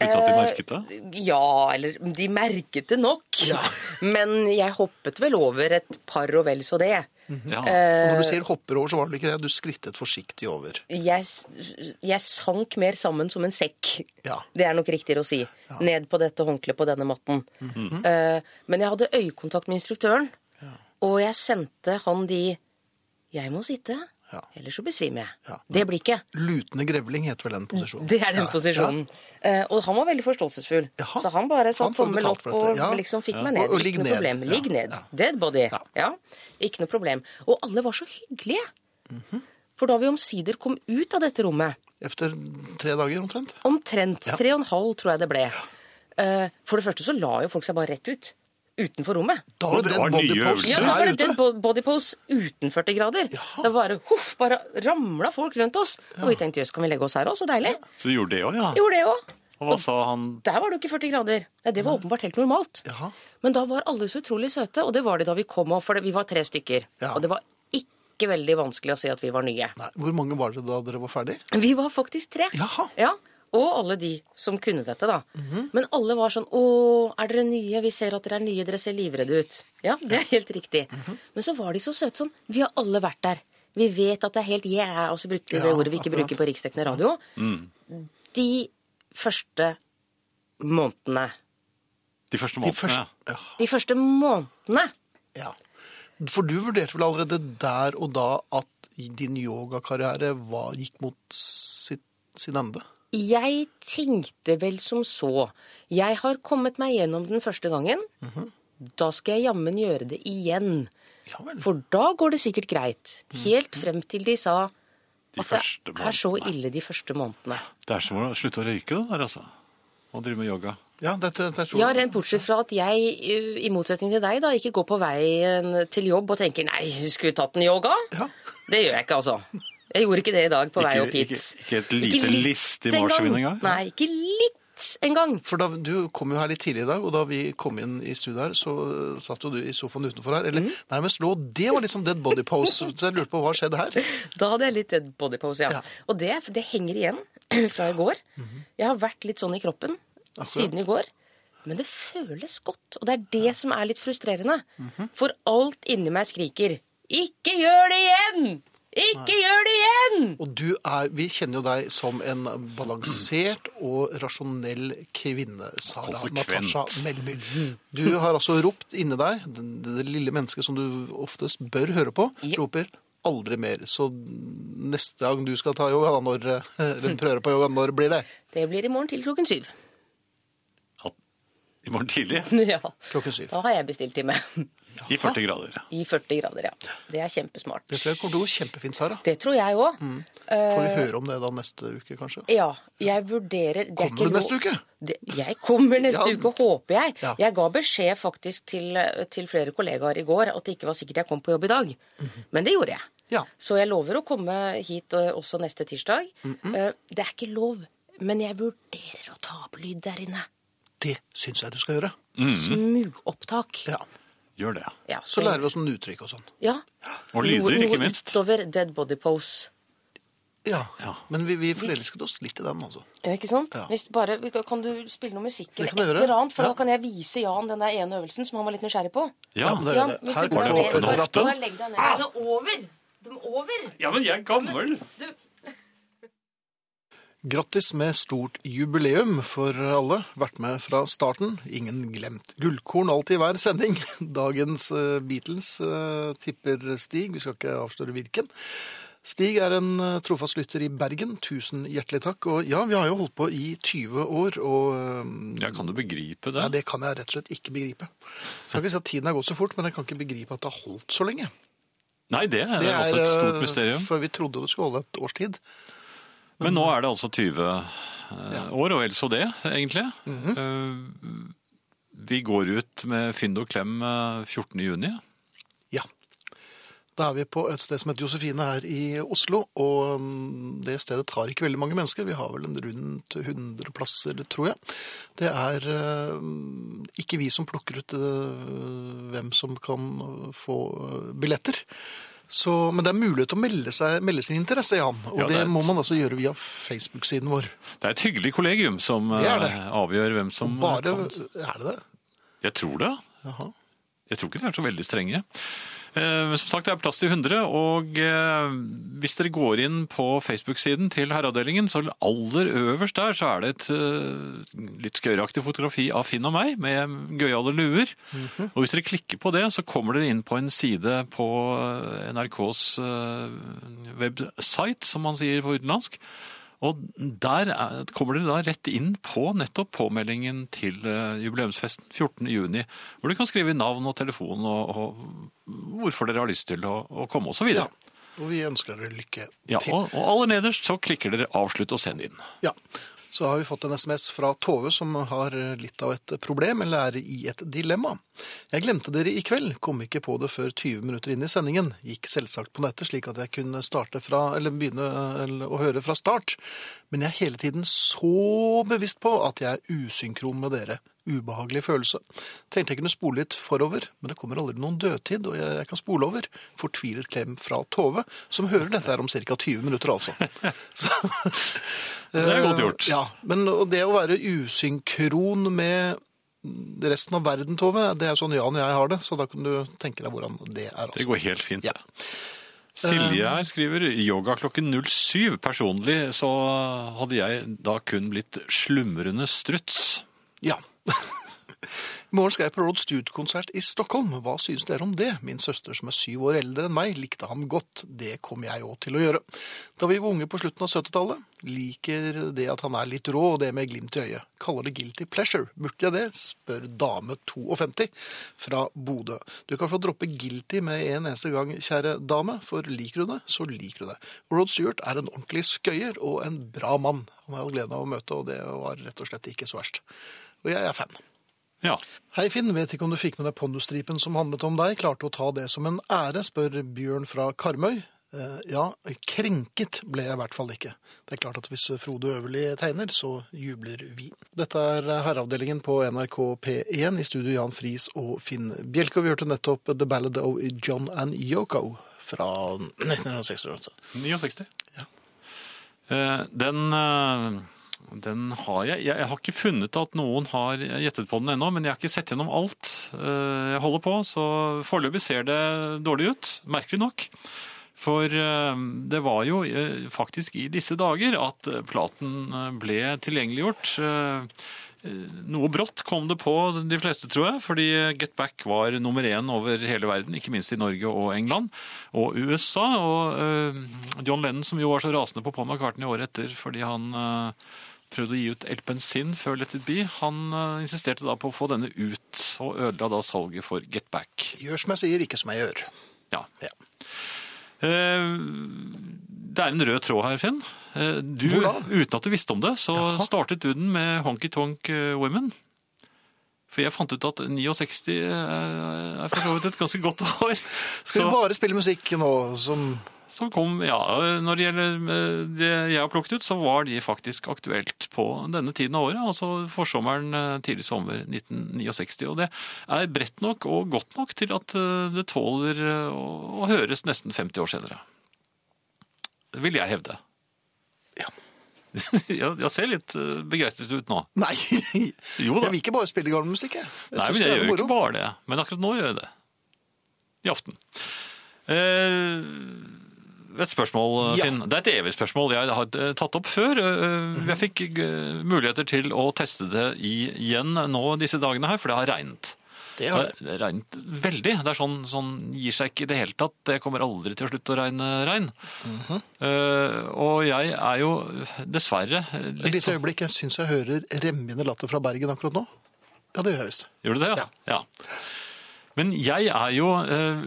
A: uten at de merket
C: Eh,
A: det?
C: Ja, eller de merket det nok.
B: Ja.
C: [laughs] Men jeg hoppet vel over et par og vel så det.
A: Ja.
B: Og når du
C: eh,
B: sier hopper over, så var det vel ikke det. Du skrittet forsiktig over.
C: Jeg, s- jeg sank mer sammen som en sekk.
B: Ja.
C: Det er nok riktigere å si. Ned på dette håndkleet på denne matten.
B: Mhm.
C: Eh, men jeg hadde øyekontakt med instruktøren, og jeg sendte han de Jeg må sitte,
B: Ja.
C: ellers så besvimer jeg.
B: Ja.
C: Det blikket.
B: Lutende grevling het vel den posisjonen.
C: Det er den
B: Ja,
C: posisjonen. Eh, og han var veldig forståelsesfull.
B: Jaha.
C: Så han bare sa
B: Han får
C: tommel
B: betalt
C: opp
B: for dette,
C: og
B: ja.
C: liksom fikk
A: Ja.
C: meg ned.
B: Og- og ligg
C: ikke noe
B: ned.
C: problem. Ligg
B: Ja,
C: ned.
B: ja.
C: Dead body.
B: Ja.
C: Ja. Ikke noe problem. Og alle var så hyggelige.
B: Mhm.
C: For da vi omsider kom ut av dette rommet,
B: Ja. Efter tre dager omtrent.
C: omtrent tre og en halv tror jeg det ble eh, For det første så la jo folk seg bare rett ut. Utenfor rommet.
B: Da
A: Og det
B: dead
A: var
B: body
A: nye
B: pose
A: øvelser.
C: Ja,
A: Se
C: da
B: her
C: var det
B: ute.
C: dead bo- body pose uten 40 grader.
B: Jaha.
C: Det var bare huff, bare ramla folk rundt oss. Og vi tenkte jøss, kan vi legge oss her òg? Så deilig.
A: Så du gjorde det òg, ja?
C: Gjorde det òg.
A: Og hva sa han?
C: Der var det jo ikke 40 grader. Nei, det var åpenbart helt normalt.
B: Jaha.
C: Men da var alle så utrolig søte, og det var de da vi kom òg, for det- vi var tre stykker.
B: Ja.
C: Og det var ikke veldig vanskelig å se at vi var nye.
B: Nei, hvor mange var det da dere var ferdig?
C: Vi var faktisk tre.
B: Jaha. Mhm.
C: Ja, og alle de som kunne dette, da. Men alle var sånn Å, er dere nye? Vi ser at dere er nye. Dere ser livredde ut. Ja, det er helt riktig.
B: Mhm.
C: Men så var de så søte sånn. Vi har alle vært der. Vi vet at det er helt yeah, og så brukte vi det
B: Ja,
C: ordet vi ikke
B: akkurat.
C: bruker på riksdekkende radio. De første månedene
A: De første
B: De
A: månedene?
B: første, ja.
C: De første månedene
B: ja. For du vurderte vel allerede der og da at din yogakarriere var- gikk mot sitt, sin ende?
C: Jeg tenkte vel som så. Jeg har kommet meg gjennom den første gangen.
A: Mhm.
C: Da skal jeg jammen gjøre det igjen.
B: Ja vel.
C: For da går det sikkert greit. Helt frem til de sa
A: Mhm. De
C: at det
A: første
C: er så
A: månedene.
C: ille de første månedene.
A: Det er som å slutte å røyke, det der, altså. Og drive med yoga.
B: Ja, dette, dette tror jeg.
C: Ja, rent bortsett fra at jeg, ø, i motsetning til deg, da, ikke går på veien til jobb og tenker nei, skulle vi tatt en yoga?
B: Ja.
C: Det gjør jeg ikke, altså. Jeg gjorde ikke det i dag på vei opp hit.
A: ikke- ikke et lite list i
C: engang.
A: marsvin engang?
C: Nei, ikke litt engang.
B: For da, Du kom jo her litt tidlig i dag, og da vi kom inn i studio her, så eh, satt jo du i sofaen utenfor her. Eller nærmest lå Det var liksom dead body pose. Så jeg lurte på hva skjedde her.
C: Da hadde jeg litt dead body pose, ja.
B: Ja.
C: Og det, det henger igjen [clears throat] fra i går. Jeg har vært litt sånn i kroppen siden i går. Men det føles godt, og det er det som er litt frustrerende.
B: Mhm.
C: For alt inni meg skriker 'ikke gjør det igjen'! Ikke gjør det igjen!
B: Og du er, Vi kjenner jo deg som en balansert og rasjonell kvinne, Sara
A: Konsekvent.
B: Natasha Melby. Du har altså ropt inni deg, det, det lille mennesket som du oftest bør høre på,
C: Ja.
B: roper aldri mer. Så neste gang du skal ta yoga, da, når, eller prøve på yoga, når blir det?
C: Det blir i morgen til klokken syv. [laughs]
A: Ja, I morgen tidlig
C: Ja.
B: Klokken syv.
C: Da har jeg bestilt time.
A: i 40 grader.
C: [laughs] I 40 grader, ja. Det er kjempesmart.
B: Det tror jeg kommer til å gå kjempefint, Sara.
C: Det tror jeg òg.
B: Mm. Får vi høre om det da neste uke, kanskje?
C: Ja, jeg vurderer det er
B: Kommer
C: ikke
B: du
C: lov-
B: neste uke?
C: Det, jeg kommer neste
B: Ja.
C: uke, håper jeg.
B: Ja.
C: Jeg ga beskjed faktisk til, til flere kollegaer i går at det ikke var sikkert jeg kom på jobb i dag. Men det gjorde jeg.
B: Mhm. Ja.
C: Så jeg lover å komme hit eh, også neste tirsdag.
B: Mhm.
C: Eh, Det er ikke lov, men jeg vurderer å ta opp lyd der inne.
B: Det syns jeg du skal gjøre.
A: Mhm.
C: Smugopptak.
B: Ja.
A: Gjør det.
C: Ja,
B: Så lærer vi oss noen uttrykk og sånn.
C: ja.
A: Og lyder,
C: Noe-
A: ikke minst.
C: Noe utover dead body pose.
B: Ja.
A: Ja.
B: Men vi, vi forelsket oss litt i den, altså.
C: Ja, Ikke sant?
B: Ja.
C: Hvis bare, kan du spille noe musikk
B: Det
C: eller
B: kan
C: et
B: jeg gjøre.
C: eller annet? For
B: Ja.
C: da kan jeg vise Jan den der ene øvelsen som han var litt nysgjerrig på.
A: Ja,
B: men det-
C: Jan, hvis
B: Her
C: du
B: går
C: går
A: det
C: ned
A: opp en
C: på
A: hofte.
C: rappen, Legg deg ned. Den er over! Den er over!
A: ja men jeg er gammel.
B: Grattis med stort jubileum for alle. Vært med fra starten. Ingen glemt. Gullkorn alltid i hver sending. [laughs] Dagens eh, Beatles eh, tipper Stig. Vi skal ikke avsløre hvilken. Stig er en eh, trofast lytter i Bergen. Tusen hjertelig takk. Og ja, vi har jo holdt på i 20 år, og eh,
A: Ja, kan du begripe
B: ja,
A: det?
B: det kan jeg rett og slett ikke begripe. Skal ikke si at tiden har gått så fort, men jeg kan ikke begripe at det har holdt så lenge.
A: Nei, det er, også et
B: eh,
A: stort mysterium.
B: For vi trodde det skulle holde et års tid.
A: Men nå er det altså 20 eh, år, og vel så det, egentlig.
B: Mhm.
A: Eh, Vi går ut med fynd og klem eh, 14. juni.
B: Ja. Da er vi på et sted som heter Josefine her i Oslo, og mm, det stedet tar ikke veldig mange mennesker. Vi har vel en rundt 100 plasser, tror jeg. Det er eh, ikke vi som plukker ut eh, hvem som kan få eh, billetter. Så, men det er mulig til å melde, seg, melde sin interesse, Jan. Og
A: Ja, det
B: det,
A: er et-
B: må man altså gjøre via Facebook-siden vår.
A: Det er et hyggelig kollegium som
B: Det er det.
A: eh, avgjør hvem som eh,
B: Bare
A: kan.
B: Er det det?
A: Jeg tror det.
B: Jaha.
A: Jeg tror ikke de er så veldig strenge. Eh, Men som sagt, det er plass til 100, og eh, hvis dere går inn på Facebook-siden til herreavdelingen, så aller øverst der så er det et eh, litt skøyeraktig fotografi av Finn og meg, med gøyale luer. Og hvis dere klikker på det, så kommer dere inn på en side på eh, NRKs eh, website, som man sier på utenlandsk. Og der er- kommer dere da rett inn på nettopp påmeldingen til eh, jubileumsfesten 14. juni, hvor du kan skrive navn og telefon og, og hvorfor dere har lyst til å, å komme og så
B: Ja.
A: videre.
B: Og vi ønsker dere lykke
A: Ja,
B: til.
A: og, og aller nederst så klikker dere avslutt og send inn.
B: Ja. Så har vi fått en SMS fra Tove som har litt av et problem, eller er i et dilemma. Jeg glemte dere i kveld, kom ikke på det før 20 minutter inn i sendingen. Gikk selvsagt på nettet slik at jeg kunne starte fra, eller begynne eller, å høre fra start. Men jeg er hele tiden så bevisst på at jeg er usynkron med dere. Ubehagelig følelse. Tenkte jeg kunne spole litt forover, men det kommer aldri noen dødtid, og jeg, jeg kan spole over. Fortvilet klem fra Tove, som hører dette her om ca. 20 minutter, altså. Så,
A: Det er godt gjort.
B: Eh, Ja, men og det å være usynkron med resten av verden, Tove, det er jo sånn Jan og jeg har det, så da kan du tenke deg hvordan det er.
A: Det
B: Altså.
A: går helt fint.
B: Ja.
A: Silje her skriver yoga klokken 07. Personlig så hadde jeg da kun blitt slumrende struts.
B: Ja. I morgen skal jeg på Road Stud-konsert i Stockholm. Hva synes dere om det? Min søster som er syv år eldre enn meg, likte ham godt. Det kom jeg òg til å gjøre. Da vi var unge på slutten av 70-tallet, liker det at han er litt rå og det med glimt i øyet. Kaller det guilty pleasure. Burde jeg det? spør dame 52 fra Bodø. Du kan få droppe guilty med en eneste gang, kjære dame, for liker du det, så liker du det. Rod Stewart er en ordentlig skøyer og en bra mann. Han har jeg hatt gleden av å møte, og det var rett og slett ikke så verst. Og jeg er fan.
A: Ja,
B: Hei Finn, vet ikke om du fikk med deg pondostripen som handlet om deg. Klarte å ta det som en ære, spør Bjørn fra Karmøy. Eh, ja, krenket ble jeg i hvert fall ikke. Det er klart at hvis Frode Øverli tegner, så jubler vi. Dette er herreavdelingen på NRK P1 i studio Jan Friis og Finn Bjelke. Og vi hørte nettopp The Ballad of John and Yoko fra 1968.
A: 69. Eh, Den, eh, den har jeg. Jeg jeg har ikke funnet at noen har gjettet på den ennå, men jeg har ikke sett gjennom alt eh, jeg holder på, så foreløpig ser det dårlig ut, merkelig nok. For eh, det var jo eh, faktisk i disse dager at eh, platen eh, ble tilgjengeliggjort. Eh, eh, Noe brått kom det på de fleste, tror jeg, fordi Get Back var nummer én over hele verden, ikke minst i Norge og England og USA. Og eh, John Lennon, som jo var så rasende på Paul McCartney året etter fordi han eh, prøvde å gi ut Elpen Sin før Let It Be, han eh, insisterte da på å få denne ut, og ødela da salget for Get Back.
B: Gjør som jeg sier, ikke som jeg gjør.
A: Ja.
B: Ja.
A: Eh, Det er en rød tråd her, Finn. Eh, Du,
B: Hvor da?
A: uten at du visste om det, så startet du den med Honky Tonk eh, Women. For jeg fant ut at 69 eh, er for så vidt et ganske godt [laughs] år.
B: Skal
A: Så-
B: vi bare spille musikk nå som
A: som kom, ja, Når det gjelder eh, det jeg har plukket ut, så var de faktisk aktuelt på denne tiden av året. Altså forsommeren, eh, tidlig sommer 1969. Og det er bredt nok og godt nok til at eh, det tåler eh, å å høres nesten 50 år senere. Det vil jeg hevde.
B: Ja.
A: [laughs] jeg, jeg ser litt eh, begeistret ut nå.
B: Nei,
A: Jo da.
B: jeg vil ikke bare spille gammel musikk, jeg. jeg
A: Nei,
B: synes
A: men
B: det
A: jeg
B: er
A: gjør jo
B: moro.
A: ikke bare det. Men akkurat nå gjør jeg det. I aften. Eh, et spørsmål, eh,
B: Ja.
A: Finn. Det er et evig spørsmål jeg har eh, tatt opp før. Eh, Jeg fikk eh, muligheter til å teste det i- igjen nå disse dagene her, for det har regnet.
B: Det har det.
A: Det har regnet veldig. Det er sånn, sånn gir seg ikke i det hele tatt. Det kommer aldri til å slutte å regne regn.
B: Mhm.
A: Eh, og jeg er jo dessverre
B: Et
A: litt
B: lite
A: sånn
B: øyeblikk, jeg syns jeg hører remmende latter fra Bergen akkurat nå. Ja, det høres.
A: Gjør du det?
B: Ja.
A: Ja. ja. Men jeg er jo eh,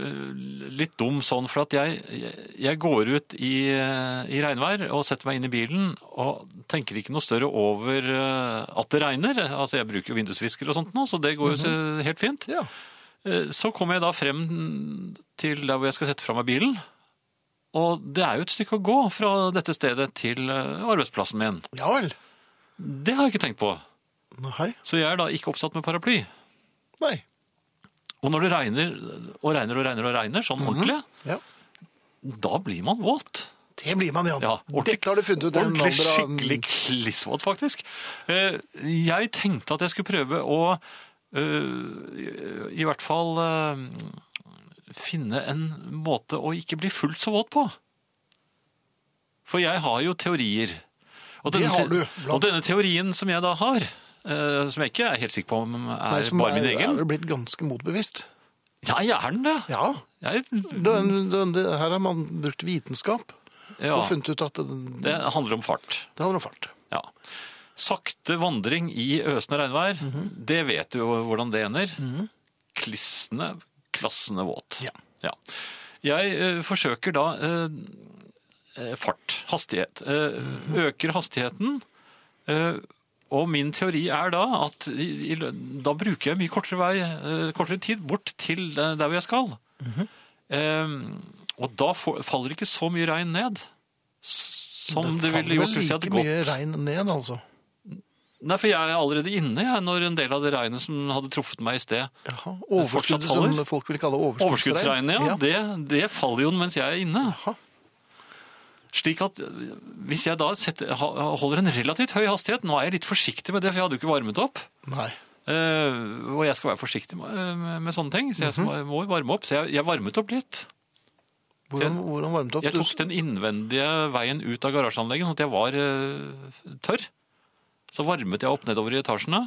A: litt dum sånn, for at jeg, jeg- jeg går ut i, eh, i regnvær og setter meg inn i bilen og tenker ikke noe større over eh, at det regner. Altså, jeg bruker jo vindusvisker og sånt nå, så det går jo så- helt fint.
B: Mhm. Ja.
A: Eh, Så kom jeg da frem til der hvor jeg skal sette fra meg bilen. Og det er jo et stykke å gå fra dette stedet til eh, arbeidsplassen min.
B: Ja vel.
A: Det har jeg ikke tenkt på.
B: Nei.
A: Så jeg er da ikke oppsatt med paraply.
B: Nei.
A: Og når det regner og regner og regner, og regner
B: Mhm.
A: sånn ordentlig,
B: Ja.
A: da blir man våt.
B: Det blir man, Jan.
A: Ja, ordentlig-
B: Dette har du funnet ut. i en
A: Ordentlig
B: alder av-
A: skikkelig klissvåt, faktisk. Eh, Jeg tenkte at jeg skulle prøve å eh, i hvert fall eh, finne en måte å ikke bli fullt så våt på. For jeg har jo teorier. Og
B: Det har du, blant-
A: Og denne teorien som jeg da har, eh, som jeg ikke er helt sikker på om er
B: Nei, som
A: bare min
B: er-
A: egen
B: Er vel blitt ganske motbevisst.
A: Ja, jeg er den det.
B: Ja.
A: Jeg,
B: Den, den, det, her har man brukt vitenskap
A: ja,
B: og funnet ut at det,
A: det handler om fart.
B: det handler om fart.
A: Ja. Sakte vandring i øsende regnvær, det vet du jo hvordan det ender. Klissende, klassende våt.
B: Ja.
A: Jeg eh, forsøker da eh, eh, fart, hastighet. Eh, Øker hastigheten, eh, og min teori er da at i, i, lø- da bruker jeg mye kortere, vei, eh, kortere tid bort til eh, der hvor jeg skal.
B: Mhm.
A: eh, og da får, faller ikke så mye regn ned. s- Som det, ville gjort hvis jeg hadde gått
B: Det faller vel like mye regn ned, altså.
A: Nei, for jeg er allerede inne jeg, når en del av det regnet som hadde truffet meg i sted.
B: Jaha.
A: fortsatt
B: Overskuddet
A: faller.
B: som folk vil kalle overskuddsregn.
A: Overskuddsregnet, ja. Det, det faller jo mens jeg er inne.
B: Jaha.
A: Slik at øh, hvis jeg da setter, ha- holder en relativt høy hastighet Nå er jeg litt forsiktig med det, for jeg hadde jo ikke varmet opp.
B: Nei.
A: Eh, og jeg skal være forsiktig med, med, med sånne ting, så jeg skal- må varme opp. Så jeg, jeg varmet opp litt.
B: Hvordan, hvordan varmet opp?
A: Jeg tok den innvendige veien ut av garasjeanlegget, sånn at jeg var eh, tørr. Så varmet jeg opp nedover i etasjene,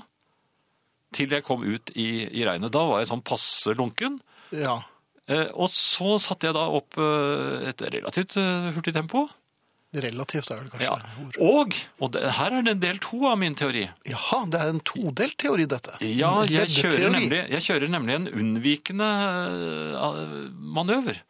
A: til jeg kom ut i, i regnet. Da var jeg sånn passe lunken.
B: Du, ja.
A: Eh, og så satte jeg da opp eh, et relativt eh, hurtig tempo.
B: Relativt er det kanskje.
A: Ja.
B: et ord.
A: Og, og det, her er det en del to av min teori.
B: Jaha, det er en todelt teori, dette.
A: Ja, jeg kjører,
B: Leddteori.
A: nemlig, jeg kjører nemlig en unnvikende eh, manøver.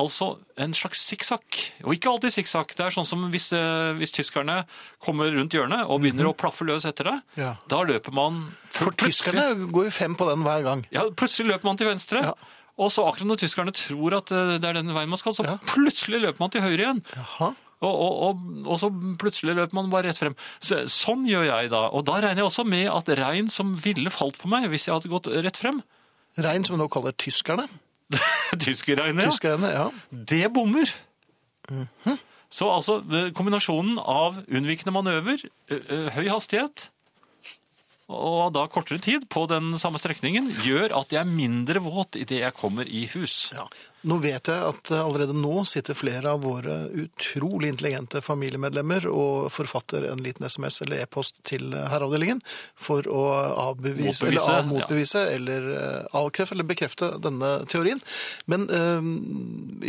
A: Altså en slags sikksakk. Og ikke alltid sikksakk. Det er sånn som hvis, eh, hvis tyskerne kommer rundt hjørnet og begynner å plaffe løs etter deg.
B: Ja.
A: Da løper man Mhm. For
B: Tyskerne går jo fem på den hver gang.
A: Ja, plutselig løper man til venstre.
B: Ja.
A: Og så akkurat når tyskerne tror at eh, det er den veien man skal, så
B: Ja.
A: plutselig løper man til høyre igjen.
B: Jaha.
A: Og, og, og, og så plutselig løper man bare rett frem. Så, sånn gjør jeg da. Og da regner jeg også med at regn som ville falt på meg hvis jeg hadde gått rett frem, [laughs]
B: Regn som vi nå kaller tyskerne.
A: Tyskerregnet, ja.
B: Tyskerne, ja.
A: Det bommer.
B: Mhm.
A: Så altså eh, kombinasjonen av unnvikende manøver, ø- ø, høy hastighet og da kortere tid på den samme strekningen, gjør at jeg er mindre våt idet jeg kommer i hus.
B: Ja. Nå vet jeg at eh, allerede nå sitter flere av våre utrolig intelligente familiemedlemmer og forfatter en liten SMS eller e-post til eh, herreavdelingen for å avbevise,
A: Motbevise,
B: eller, av,
A: ja.
B: motbevise, eller eh, avkrefte eller bekrefte denne teorien. Men eh,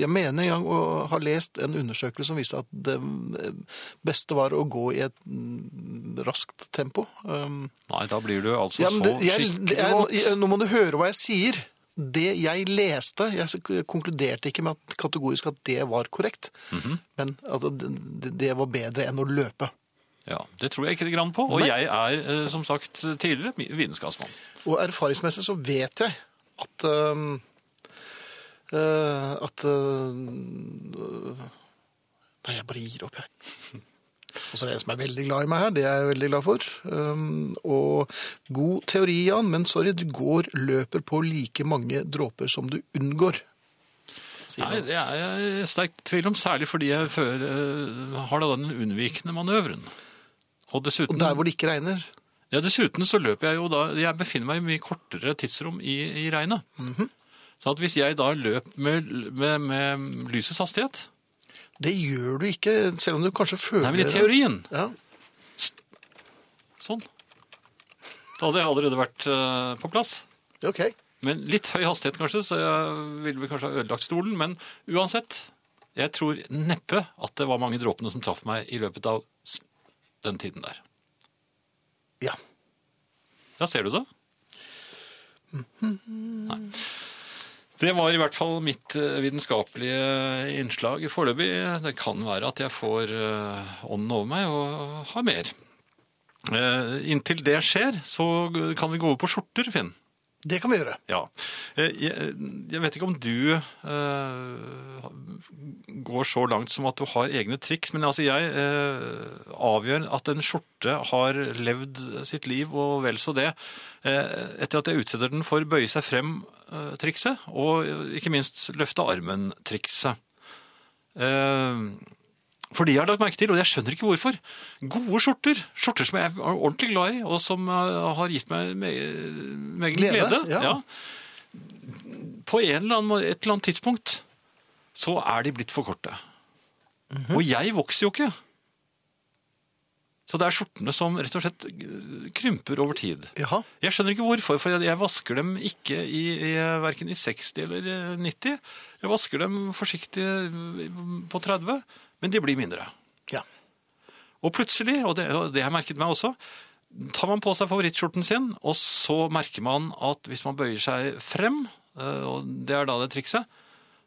B: jeg mener en gang å ha lest en undersøkelse som viste at det eh, beste var å gå i et mm, raskt tempo. Um,
A: Nei, da blir du altså
B: ja,
A: så
B: men det, jeg, det
A: skikkelig
B: er,
A: våt.
B: jeg- nå må du høre hva jeg sier. Det jeg leste Jeg s- konkluderte ikke med at, kategorisk at det var korrekt,
A: Mhm.
B: men at det, det var bedre enn å løpe.
A: Ja, det tror jeg ikke det grann på. Og jeg er, eh, som sagt tidligere, vitenskapsmann.
B: Og erfaringsmessig så vet jeg at øhm, øh, At øh, Nei, jeg bare gir opp, jeg. Og så er det en som er veldig glad i meg her, det er jeg veldig glad for. Øhm, og god teori, Jan, men sorry, du går løper på like mange dråper som du unngår. Sier
A: Nei,
B: han.
A: det er jeg sterkt tvil om, særlig fordi jeg før, eh, har da den unnvikende manøvren. Og dessuten,
B: Og der hvor det ikke regner.
A: ja, dessuten så løper jeg jo da Jeg befinner meg i mye kortere tidsrom i, i regnet.
B: Mhm.
A: Så at hvis jeg da løp med, med, med lysets hastighet
B: Det gjør du ikke, selv om du kanskje føler
A: Nei, men i teorien
B: Ja.
A: Sånn. Da hadde jeg allerede vært eh, på plass.
B: OK.
A: Men litt høy hastighet kanskje, så jeg ville vel kanskje ha ødelagt stolen. Men uansett, jeg tror neppe at det var mange dråpene som traff meg i løpet av s- den tiden der.
B: Ja.
A: Ja, ser du det? Nei. Det var i hvert fall mitt eh, vitenskapelige innslag foreløpig. Det kan være at jeg får eh, ånden over meg og har mer. Eh, Inntil det skjer, så kan vi gå over på skjorter, Finn.
B: Det kan vi gjøre.
A: Ja. Eh, Jeg, jeg vet ikke om du eh, går så langt som at du har egne triks, men altså jeg eh, avgjør at en skjorte har levd sitt liv og vel så det, eh, etter at jeg utsetter den for bøye seg frem-trikset, og eh, ikke minst løfte armen-trikset. Eh, for de jeg har lagt merke til, og jeg skjønner ikke hvorfor. Gode skjorter. Skjorter som jeg er ordentlig glad i, og som eh, har gitt meg me- megen glede.
B: Glede, ja.
A: På en eller annen, må- et eller annet tidspunkt så er de blitt for korte. Og jeg vokser jo ikke. Så det er skjortene som rett og slett eh, krymper over tid.
B: Jaha.
A: Jeg skjønner ikke hvorfor, for jeg, jeg vasker dem ikke i, i verken i 60 eller eh, 90. Jeg vasker dem forsiktig eh, på 30, men de blir mindre.
B: Ja.
A: Og plutselig, og det, og det har jeg merket meg også, tar man på seg favorittskjorten sin, og så merker man at hvis man bøyer seg frem, eh, og det er da det trikset,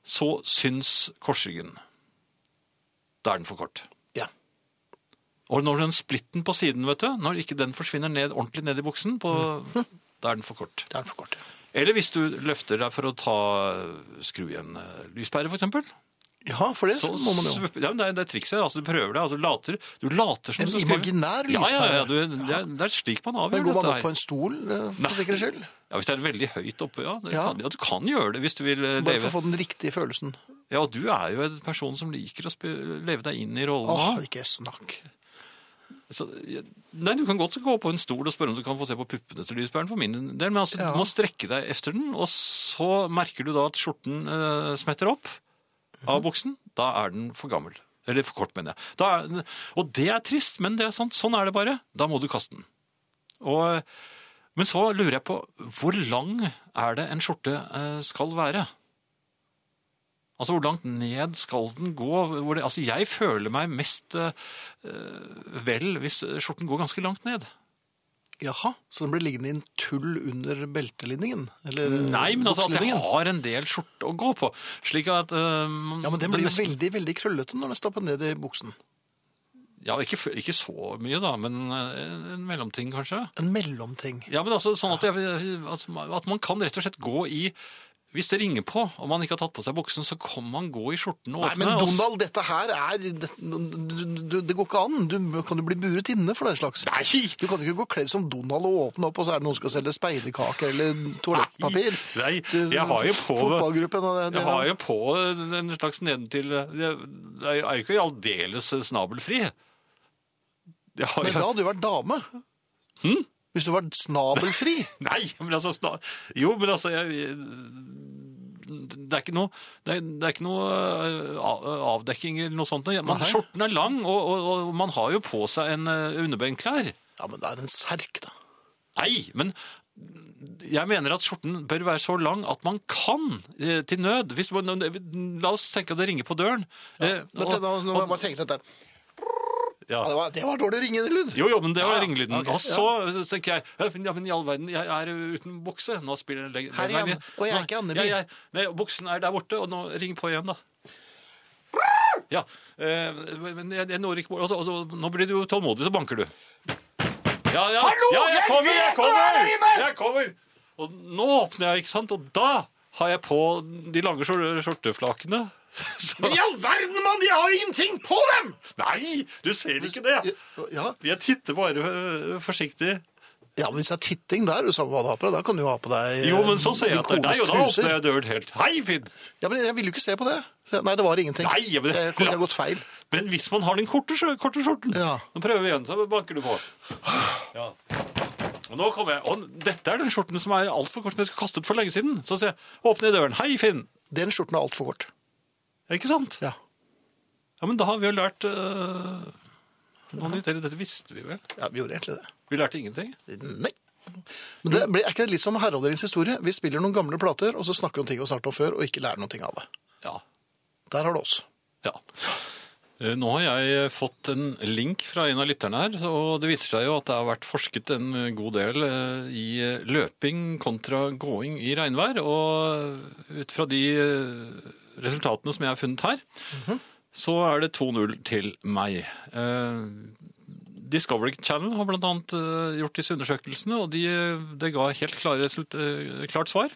A: så syns korsryggen. Da er den for kort.
B: ja.
A: Og når den splitten på siden, vet du, når ikke den forsvinner ned, ordentlig ned i buksen, på, da er den for kort.
B: Det er den for kort, ja.
A: Eller hvis du løfter deg for å ta, skru igjen eh, lyspære, for eksempel.
B: Jaha, for det
A: Så
B: må man jo.
A: svøp- ja, men det, er, det er trikset. Altså, du prøver det. Altså, du, later, du later som
B: En
A: du skal
B: imaginær
A: Ja, ja, ja,
B: lyspære.
A: du, det, er, det er slik man
B: Men
A: avgjør
B: går man
A: dette
B: opp
A: her.
B: på en stol, eh, for sikkerhets skyld?
A: Ja, Hvis det er veldig høyt oppe, ja, det
B: Ja.
A: Kan, ja. Du kan gjøre det hvis du vil eh,
B: Bare for
A: leve
B: å få den riktige følelsen.
A: Ja, og du er jo en person som liker å spe- leve deg inn i rollen.
B: Åh, ikke snakk.
A: Så, ja, nei, du kan godt gå på en stol og spørre om du kan få se på puppene til lyspæren for min del, men altså,
B: Ja.
A: du må strekke deg efter den, og så merker du da at skjorten eh, smetter opp av buksen. Da er den for gammel. Eller for kort, mener jeg. Da er, den- og det er trist, men det er sant. Sånn er det bare. Da må du kaste den. Og, men så lurer jeg på, hvor lang er det en skjorte eh, skal være? Altså, hvor langt ned skal den gå? Hvor det, altså, jeg føler meg mest eh, eh, vel hvis skjorten går ganske langt ned.
B: Jaha, så den ble liggende i en tull under beltelinningen? Eller eh,
A: Nei, men altså at jeg
B: bukselinningen?
A: har en del skjorte å gå på. Slik at eh,
B: Ja, men den
A: det
B: blir jo
A: nesten-
B: veldig, veldig krøllete når den stapper ned i buksen.
A: Ja, ikke, f- ikke så mye, da, men eh, en mellomting, kanskje.
B: En mellomting.
A: Ja, men altså sånn at, jeg, at at man kan rett og slett gå i Hvis det ringer på, og man ikke har tatt på seg buksen, så kan man gå i skjorten og
B: Nei,
A: åpne. altså.
B: men
A: og s-
B: Donald, dette her er Det, du- det går ikke an. Du kan jo bli buret inne for den slags.
A: Nei!
B: Du kan jo ikke gå kledd som Donald og åpne opp, og så er det noen som skal selge speiderkaker eller toalettpapir.
A: Nei,
B: Til
A: jeg har jo på-
B: Fotballgruppen og det. det-
A: Jeg har jo på en slags nedentil Jeg jeg er jo ikke aldeles snabelfri. Jeg har
B: Men da
A: jo
B: hadde du vært dame.
A: Hm?
B: Hvis du var snabelfri.
A: [laughs] Nei, men altså sna- Jo, men altså jeg, det er ikke noe, det er, det er ikke noe eh, av- avdekking eller noe sånt. Men
B: Nei.
A: skjorten er lang, og, og, og man har jo på seg en eh, underbenklær.
B: Ja, men det er en serk, da.
A: Nei, men jeg mener at skjorten bør være så lang at man kan eh, til nød. Hvis man, la oss tenke at det ringer på døren. eh,
B: Vent
A: og-
B: litt, nå- nå må jeg bare tenke litt der. Ja, det,
A: ja.
B: var, det var dårlig ringelyd.
A: Jo, jo, men det var
B: Ja, ja.
A: ringelyden.
B: Ok,
A: og så så tenker jeg ja, men- ja, men i all verden, jeg er uten bukse. Nå spiller jeg
B: Her igjen. Og jeg er ikke Andeby.
A: Nei, buksen er der borte, og nå ringer på igjen, da. Ja, eh, men jeg, jeg når ikke bort. Og så- og så- nå blir du tålmodig, så banker du. Ja, ja. Hallo, ja, jeg kommer, jeg kommer! Jeg kommer! Og nå åpner jeg, ikke sant? Og da har jeg på de lange skjor- skjorteflakene. [laughs] Så,
D: I all verden, mann! De har jo ingenting på dem!
A: nei, du ser ikke det!
B: Ja.
A: Jeg titter bare øh, forsiktig.
B: ja, men hvis det er titting der, du sa hva du har på deg, da kan du jo ha på deg eh,
A: Jo, men så ser jeg
B: din
A: at det er
B: kones
A: deg, og da
B: truser.
A: åpner jeg døren helt. Hei, Finn!
B: Ja, men jeg ville jo ikke se på det. Så- Nei, det var ingenting.
A: Nei, jeg-
B: Det kunne jeg gått feil.
A: Men hvis man har den korte, skjø- korte skjorten
B: Ja.
A: Nå prøver vi igjen, så banker du på. Ja. Og nå kommer jeg. Og dette er den skjorten som er altfor kort, som jeg skulle kastet for lenge siden. Så sier jeg åpne døren. Hei, Finn!
B: Den skjorten er altfor kort.
A: Ikke sant?
B: Ja.
A: Ja, men da har vi jo lært øh, noe nytt. Eller dette visste vi vel?
B: ja, vi gjorde egentlig det.
A: Vi lærte ingenting.
B: Nei. Men det blir, er ikke det litt som herreavdelingens historie? Vi spiller noen gamle plater, og så snakker vi om ting vi har snakket om før, og ikke lærer noen ting av det.
A: Ja.
B: Der har du oss.
A: Ja. Eh, Nå har jeg fått en link fra en av lytterne her, og det viser seg jo at det har vært forsket en god del eh, i løping kontra gåing i regnvær, og ut fra de eh, resultatene som jeg har funnet her, så er det 2-0 til meg. Eh, Discovery Channel har bl.a. gjort disse undersøkelsene, og de, eh, det ga helt klare result, eh, klart svar.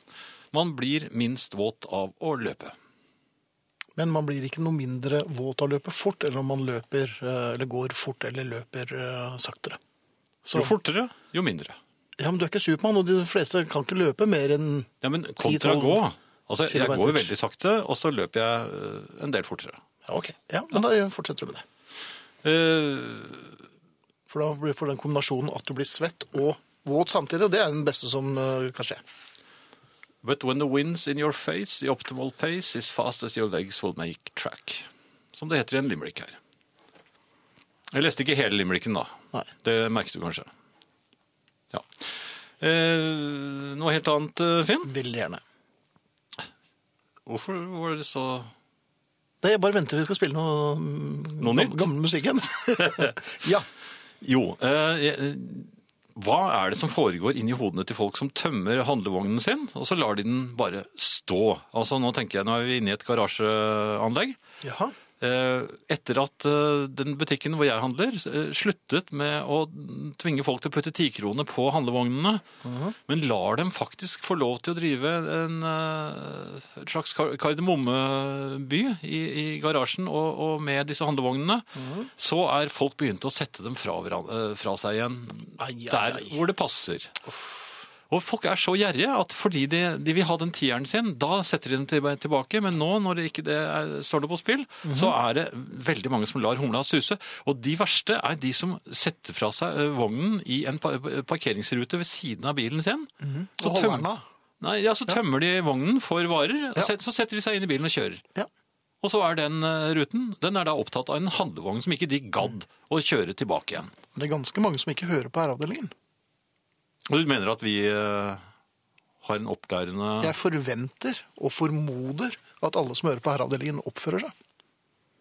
A: Man blir minst våt av å løpe.
B: Men man blir ikke noe mindre våt av å løpe fort, eller om man løper, eh, eller går fort, eller løper eh, saktere. Så,
A: Jo fortere, jo mindre.
B: ja, men du er ikke Supermann, og de fleste kan ikke løpe mer enn
A: Ja, men kontra gå. Altså, jeg går jo
B: kilometer.
A: veldig sakte, og så løper jeg eh, en del fortere.
B: Ja, ok. Ja, men da fortsetter du med det.
A: Eh,
B: For da blir- får du den kombinasjonen at du blir svett og våt samtidig, og det er den beste som eh, kan skje.
A: But when the wind's in your face, the optimal pace is fast as your legs will make track. Som det heter i en limerick her. Jeg leste ikke hele limericken, da.
B: Nei.
A: Det merket du kanskje. Ja. Eh, noe helt annet, eh, Finn?
B: Veldig gjerne.
A: Hvorfor var det så
B: Nei, jeg bare venter vi skal spille noe, mm,
A: Noe
B: gam-
A: nytt?
B: Gammel musikk igjen.
A: [laughs]
B: ja.
A: Jo. Eh, eh, hva er det som foregår inni hodene til folk som tømmer handlevognen sin, og så lar de den bare stå? Altså, nå tenker jeg, nå er vi inne i et garasjeanlegg.
B: Jaha.
A: Eh, etter at eh, den butikken hvor jeg handler, eh, sluttet med å tvinge folk til å putte tikroner på handlevognene,
B: Mhm.
A: men lar dem faktisk få lov til å drive en eh, et slags kar kardemommeby i, i garasjen og, og med disse handlevognene,
B: Mhm.
A: så er folk begynt å sette dem fra, hveran- eh, fra seg igjen
B: Ai, ai,
A: der
B: ai.
A: hvor det passer. Og folk er så gjerrige at fordi de, de vil ha den tieren sin, da setter de den tilba- tilbake. Men nå, når det ikke det er, står det på spill, så
B: Mhm.
A: er det veldig mange som lar humla suse. Og de verste er de som setter fra seg eh, vognen i en pa parkeringsrute ved siden av bilen sin.
B: Mhm. Så holder den av.
A: Nei, ja, så tømmer de vognen for varer, og set, så setter de seg inn i bilen og kjører.
B: Ja.
A: Og så er den eh, ruten den er da opptatt av en handlevogn som ikke de gadd
B: Mm.
A: å kjøre tilbake igjen.
B: Men det er ganske mange som ikke hører på herreavdelingen.
A: Og du mener at vi eh, har en opplærende
B: Jeg forventer og formoder at alle som hører på herreavdelingen oppfører seg.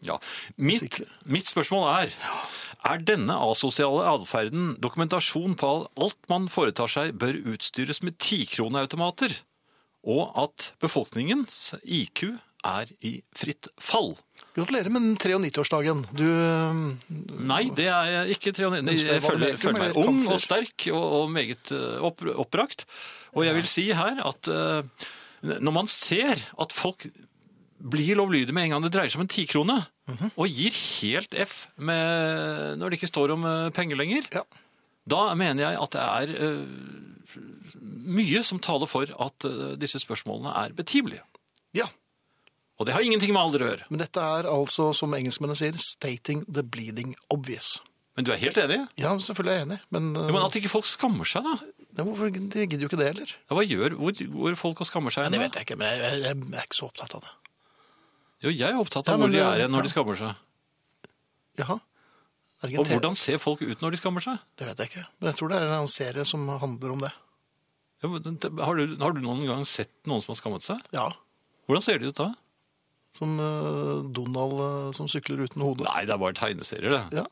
A: Ja. Mitt,
B: Sikkert.
A: mitt spørsmål er Er denne asosiale atferden dokumentasjon på at alt man foretar seg, bør utstyres med tikroneautomater, og at befolkningens IQ er i fritt fall?
B: Gratulerer med den 93-årsdagen. Du eh,
A: Nei, det er jeg ikke. Trion- Nei,
B: Ønsker du
A: Jeg
B: å
A: føler,
B: valgmeke,
A: føler meg
B: eller
A: ung
B: kampfer?
A: og sterk og, og meget eh, opp, oppbrakt. Og jeg vil si her at eh, når man ser at folk blir lovlydige med en gang det dreier seg om en tikrone,
B: Mhm.
A: og gir helt F med, når det ikke står om eh, penger lenger,
B: Ja.
A: da mener jeg at det er eh, mye som taler for at eh, disse spørsmålene er betimelige.
B: Ja.
A: Og det har ingenting med alder å gjøre.
B: Men dette er altså, som engelskmennene sier, 'stating the bleeding obvious'.
A: Men du er helt enig?
B: Ja, selvfølgelig er jeg enig, men, eh,
A: Ja, men at ikke folk skammer seg, da?
B: nei, hvorfor de gidder jo ikke det heller?
A: Ja, Hva gjør, hvor går folk og skammer seg? hen,
B: Det
A: da?
B: vet jeg ikke, men jeg, jeg, jeg er ikke så opptatt av det.
A: Jo, jeg er opptatt
B: Ja,
A: av
B: men
A: hvor de
B: det-
A: er når
B: ja.
A: de skammer seg.
B: Jaha. Er det ikke en
A: Og
B: te-
A: hvordan ser folk ut når de skammer seg?
B: Det vet jeg ikke, men jeg tror det er en annen serie som handler om det.
A: Ja, men det- Har du, har du noen gang sett noen som har skammet seg?
B: Ja,
A: Hvordan ser de ut da?
B: som eh, Donald eh, som sykler uten hode.
A: Nei, det er bare tegneserier, det.
B: Ja,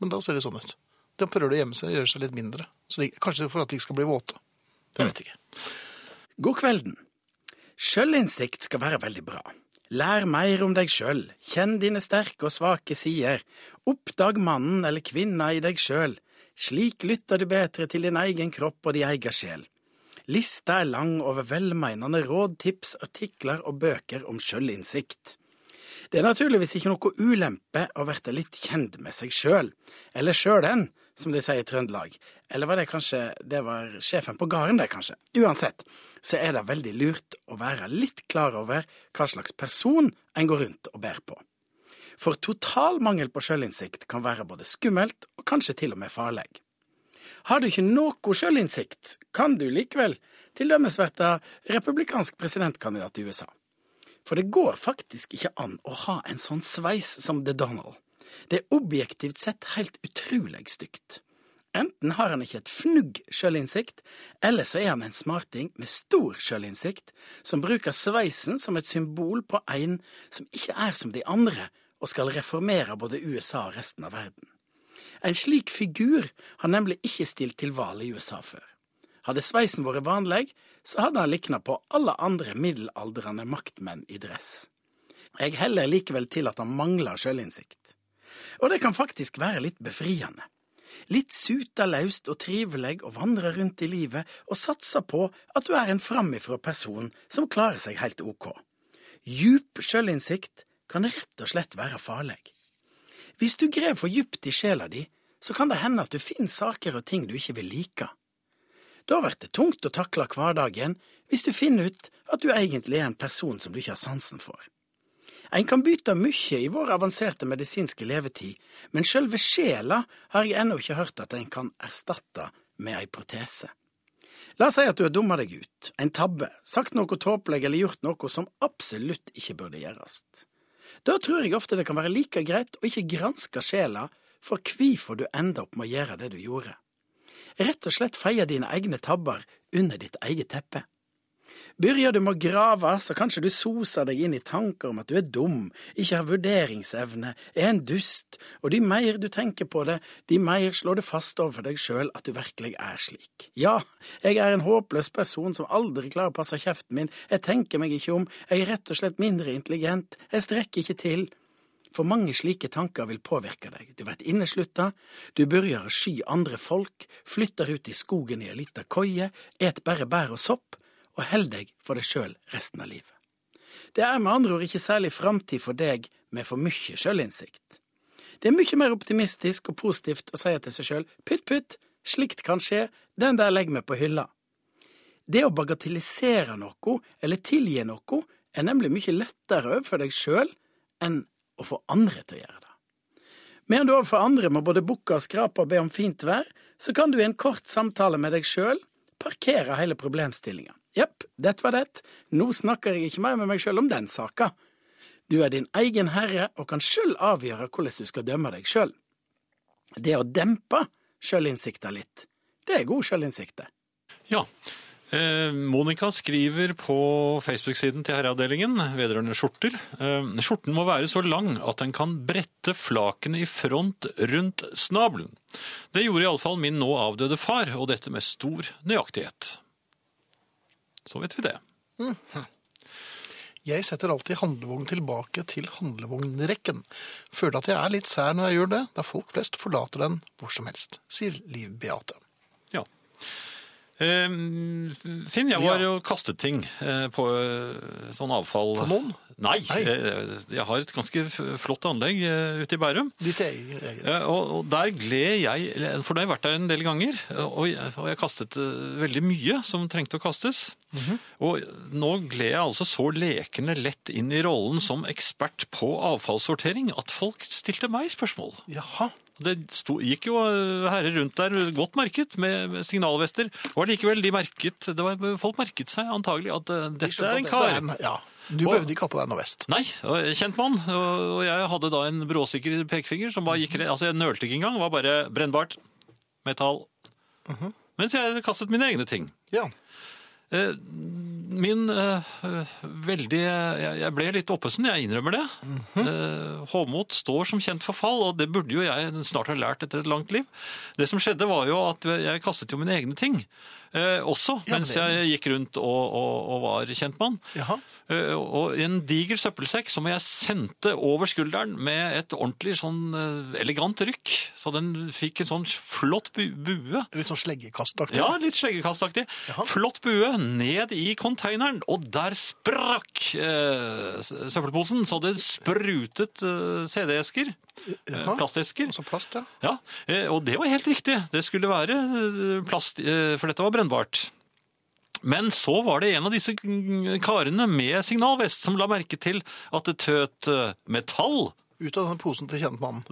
B: men da ser det sånn ut. Da prøver de å gjemme seg og gjøre seg litt mindre. Så de, kanskje for at de ikke skal bli våte. Jeg vet ikke.
E: God kvelden. Sjølinnsikt skal være veldig bra. Lær mer om deg sjøl, kjenn dine sterke og svake sider, oppdag mannen eller kvinna i deg sjøl. Slik lytter du bedre til din egen kropp og din egen sjel. Lista er lang over velmeinende råd, tips, artikler og bøker om sjølinnsikt. Det er naturligvis ikke noe ulempe å verte litt kjent med seg sjøl, eller sjølen, som de sier i Trøndelag. Eller var det kanskje det var sjefen på gården, det, kanskje? Uansett, så er det veldig lurt å være litt klar over hva slags person en går rundt og bærer på. For total mangel på sjølinnsikt kan være både skummelt og kanskje til og med farlig. Har du ikke noe sjølinnsikt, kan du likevel til dømes verte republikansk presidentkandidat i USA. For det går faktisk ikke an å ha en sånn sveis som The Donald. Det er objektivt sett helt utrolig stygt. Enten har han ikke et fnugg sjølinnsikt, eller så er han en smarting med stor sjølinnsikt, som bruker sveisen som et symbol på en som ikke er som de andre, og skal reformere både USA og resten av verden. En slik figur har nemlig ikke stilt til valg i USA før. Hadde sveisen vært vanlig, så hadde han likna på alle andre middelaldrende maktmenn i dress. Jeg heller likevel til at han mangler sjølinnsikt. Og det kan faktisk være litt befriende. litt suta laust og triveleg og vandre rundt i livet og satse på at du er en framifrå person som klarer seg helt ok. Djup sjølinnsikt kan rett og slett være farlig. Hvis du grev for djupt i sjela di, så kan det hende at du finner saker og ting du ikke vil like. Da blir det tungt å takle hverdagen hvis du finner ut at du egentlig er en person som du ikke har sansen for. En kan bytte mye i vår avanserte medisinske levetid, men sjølve sjela har jeg ennå ikke hørt at en kan erstatte med ei protese. La oss si at du har dumma deg ut, en tabbe, sagt noe tåpelig eller gjort noe som absolutt ikke burde gjøres. Da tror jeg ofte det kan være like greit å ikke granske sjela for hvorfor du ender opp med å gjøre det du gjorde. Rett og slett feie dine egne tabber under ditt eget teppe. Begynner du med å grave, så kanskje du soser deg inn i tanker om at du er dum, ikke har vurderingsevne, er en dust, og de mer du tenker på det, de mer slår det fast overfor deg sjøl at du virkelig er slik. Ja, jeg er en håpløs person som aldri klarer å passe kjeften min, jeg tenker meg ikke om, jeg er rett og slett mindre intelligent, jeg strekker ikke til. For mange slike tanker vil påvirke deg, du blir inneslutta, du begynner å sky andre folk, flytter ut i skogen i ei lita koie, et bare bær og sopp, og holder deg for deg sjøl resten av livet. Det er med andre ord ikke særlig framtid for deg med for mye sjølinnsikt. Det er mye mer optimistisk og positivt å si til seg sjøl pytt pytt, slikt kan skje, den der legger vi på hylla. Det å bagatellisere noe eller tilgi noe er nemlig mye lettere overfor deg sjøl enn å få andre til å gjøre det. Medan du overfor andre må både bukke og skrape og be om fint vær, så kan du i en kort samtale med deg sjøl parkere hele problemstillinga. Jepp, dette var det, nå snakker jeg ikke mer med meg sjøl om den saka. Du er din egen herre og kan sjøl avgjøre hvordan du skal dømme deg sjøl. Det å dempe sjølinnsikta litt, det er god sjølinnsikt, det.
A: Ja. Eh, Monica skriver på Facebook-siden til Herreavdelingen vedrørende skjorter. Eh, skjorten må være så lang at den kan brette flakene i front rundt snabelen. Det gjorde iallfall min nå avdøde far, og dette med stor nøyaktighet. Så vet vi det.
B: Jeg setter alltid handlevogn tilbake til handlevognrekken. Føler at jeg er litt sær når jeg gjør det, da folk flest forlater den hvor som helst, sier Liv Beate.
A: Ja. Eh, Finn, jeg var jo kastet ting eh, på eh, sånn avfall
B: På noen?
A: Nei.
B: Nei.
A: eh, Jeg har et ganske f- flott anlegg eh, ute i Bærum.
B: Ditt eget. eget.
A: Eh, Og og der gled jeg, eller, for da har jeg vært der en del ganger, og jeg, og jeg kastet eh, veldig mye som trengte å kastes.
B: Mhm.
A: Og nå gled jeg altså så lekende lett inn i rollen som ekspert på avfallssortering at folk stilte meg spørsmål.
B: Jaha.
A: Det sto, gikk jo eh, herrer rundt der, godt merket, med, med signalvester. Og likevel, de merket, det var, folk merket seg antagelig at eh,
B: De
A: dette
B: skjønte
A: er
B: at
A: en
B: dette
A: kar.
B: ja. Du
A: Og-
B: behøvde ikke ha på deg noe vest.
A: Nei, og- kjent mann. Og og jeg hadde da en bråsikker pekefinger som bare gikk re- Altså, jeg nølte ikke engang. det Var bare brennbart. Metall.
B: Mhm.
A: Mens jeg kastet mine egne ting.
B: Ja.
A: Eh, Min eh, eh, veldig jeg, jeg ble litt oppesen, jeg innrømmer det.
B: Mhm.
A: eh, håndmot står som kjent for fall, og det burde jo jeg snart ha lært etter et langt liv. Det som skjedde, var jo at jeg kastet jo mine egne ting eh, også,
B: Ja, men
A: mens
B: det-
A: jeg gikk rundt og, og, og var kjentmann.
B: Jaha.
A: Eh, Og en diger søppelsekk som jeg sendte over skulderen med et ordentlig sånn eh, elegant rykk. Så den fikk en sånn flott bu bue.
B: Litt sånn sleggekastaktig.
A: Ja, litt sleggekastaktig.
B: Jaha.
A: Flott bue ned i konteineren, og der sprakk eh, s- søppelposen. Så det sprutet eh, CD-esker. Eh,
B: Jaha.
A: plastesker.
B: Altså plast, ja.
A: Ja, eh, og det var helt riktig. Det skulle være eh, plast, eh, for dette var brennbart. Men så var det en av disse mm, karene med signalvest som la merke til at det tøt eh, metall. [laughs]
B: Ut av denne posen til kjentmannen.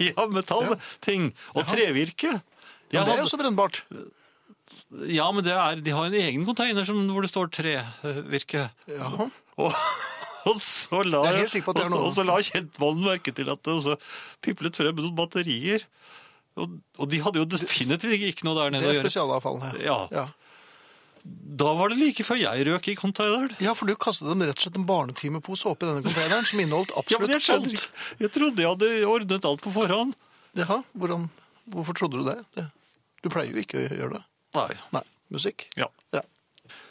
A: Ja, metallting. Og trevirke.
B: Men
A: Jeg
B: det er jo
A: hadde-
B: så brennbart.
A: ja, men det er, de har en egen container som, hvor det står trevirke. [laughs]
B: Jaha.
A: Og, og så la,
B: Jeg er helt sikker på at det er
A: og så-
B: noe.
A: og så la kjentmannen merke til at det også piplet frem noen batterier. Og, og de hadde jo definitivt ikke noe der
B: Det
A: nede å
B: er
A: gjøre.
B: spesialavfall. Ja.
A: Ja.
B: Ja.
A: Da var det like før jeg røk i containeren.
B: ja, for du kastet dem rett og slett en barnetimepose oppi denne containeren, som inneholdt
A: [laughs] Ja, men
B: absolutt
A: jeg skjønner
B: alt.
A: ikke. Jeg trodde jeg hadde ordnet alt på forhånd.
B: Jaha, hvordan, hvorfor trodde du det? det? Du pleier jo ikke å gjøre det.
A: Nei.
B: Nei, musikk.
A: Ja.
B: Ja.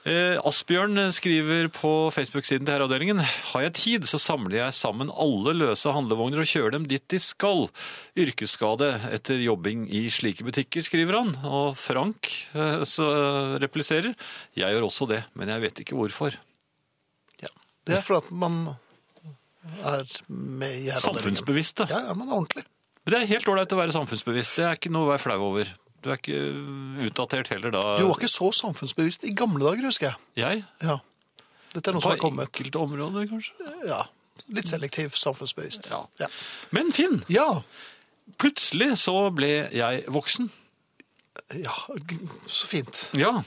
A: Eh, Asbjørn skriver på Facebook-siden til Herreavdelingen Har jeg tid, så samler jeg sammen alle løse handlevogner og kjører dem dit de skal. Yrkesskade etter jobbing i slike butikker, skriver han. Og Frank eh, så repliserer Jeg gjør også det, men jeg vet ikke hvorfor.
B: Ja. Det er fordi at man er med i herreavdelingen.
A: Samfunnsbevisste.
B: Ja, ja, man er ordentlig.
A: Men det er helt ålreit å være samfunnsbevisst. Det er ikke noe å være flau over. Du er ikke utdatert heller da.
B: Du var ikke så samfunnsbevisst i gamle dager, husker jeg.
A: Jeg?
B: Ja. Dette er noe
A: På
B: som har kommet.
A: enkelte områder, kanskje.
B: Ja. Litt selektiv samfunnsbevisst.
A: Ja.
B: Ja.
A: Men Finn,
B: ja.
A: plutselig så ble jeg voksen.
B: ja. g- Så fint.
A: Ja.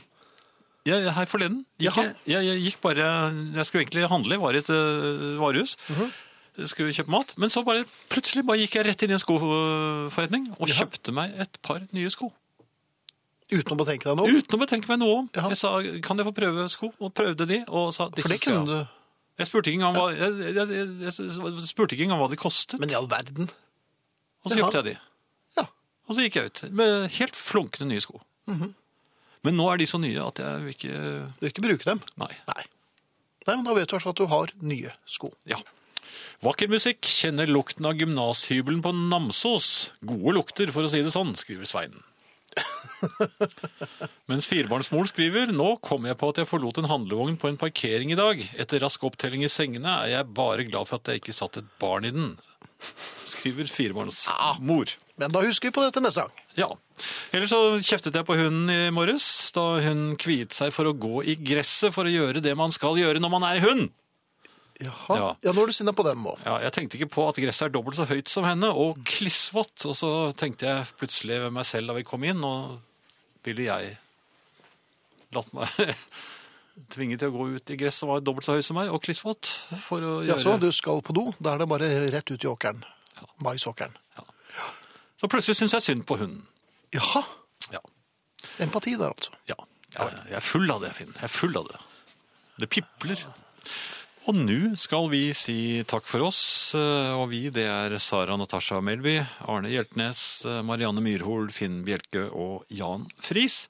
A: Jeg, her forleden gikk jeg,
B: Jaha.
A: jeg, jeg gikk bare Jeg skulle egentlig handle, var i et øh, varehus.
B: Mhm.
A: Jeg Skulle kjøpe mat. Men så bare plutselig bare gikk jeg rett inn i en skoforretning og kjøpte meg et par nye sko.
B: Uten å betenke deg noe.
A: Uten å betenke meg noe om.
B: Jaha.
A: Jeg sa kan jeg få prøve sko, og prøvde de. og sa
B: For
A: disse
B: det
A: skal jeg ha.
B: kunne du.
A: Jeg spurte ikke engang hva, jeg, jeg, jeg, jeg spurte ikke engang hva de kostet,
B: Men i all verden.
A: og så
B: jaha.
A: kjøpte jeg de.
B: Ja.
A: Og så gikk jeg ut med helt flunkende nye sko.
B: Mhm.
A: Men nå er de så nye at jeg vil ikke
B: Du vil ikke bruke dem.
A: Nei.
B: Nei. Nei, men Da vet du i hvert fall at du har nye sko.
A: Ja. Vakker musikk, kjenner lukten av gymnashybelen på Namsos. Gode lukter, for å si det sånn, skriver Svein. Mens firebarnsmor skriver Nå kom jeg på at jeg forlot en handlevogn på en parkering i dag. Etter rask opptelling i sengene er jeg bare glad for at jeg ikke satt et barn i den. Skriver firebarnsmor.
B: Men da husker vi på dette neste gang.
A: Ja. Ellers så kjeftet jeg på hunden i morges da hun kviet seg for å gå i gresset for å gjøre det man skal gjøre når man er hund.
B: Jaha.
A: Ja.
B: Ja, nå er du sinna på dem òg.
A: Ja, jeg tenkte ikke på at gresset er dobbelt så høyt som henne, og klissvått. Og så tenkte jeg plutselig ved meg selv da vi kom inn, og ville jeg latt meg [laughs] tvinge til å gå ut i gress som var dobbelt så høy som meg, og klissvått, for å
B: Ja,
A: gjøre
B: så du skal på do. Da er det bare rett ut i åkeren. Maisåkeren.
A: Så plutselig syns jeg synd på hunden.
B: Jaha.
A: Ja.
B: Empati der, altså.
A: ja. ja jeg er full av det, Finn. Jeg er full av det. Det pipler. Og nå skal vi si takk for oss, eh, og vi det er Sara Natasha Melby, Arne Hjeltnes, eh, Marianne Myrhol, Finn Bjelke og Jan Friis.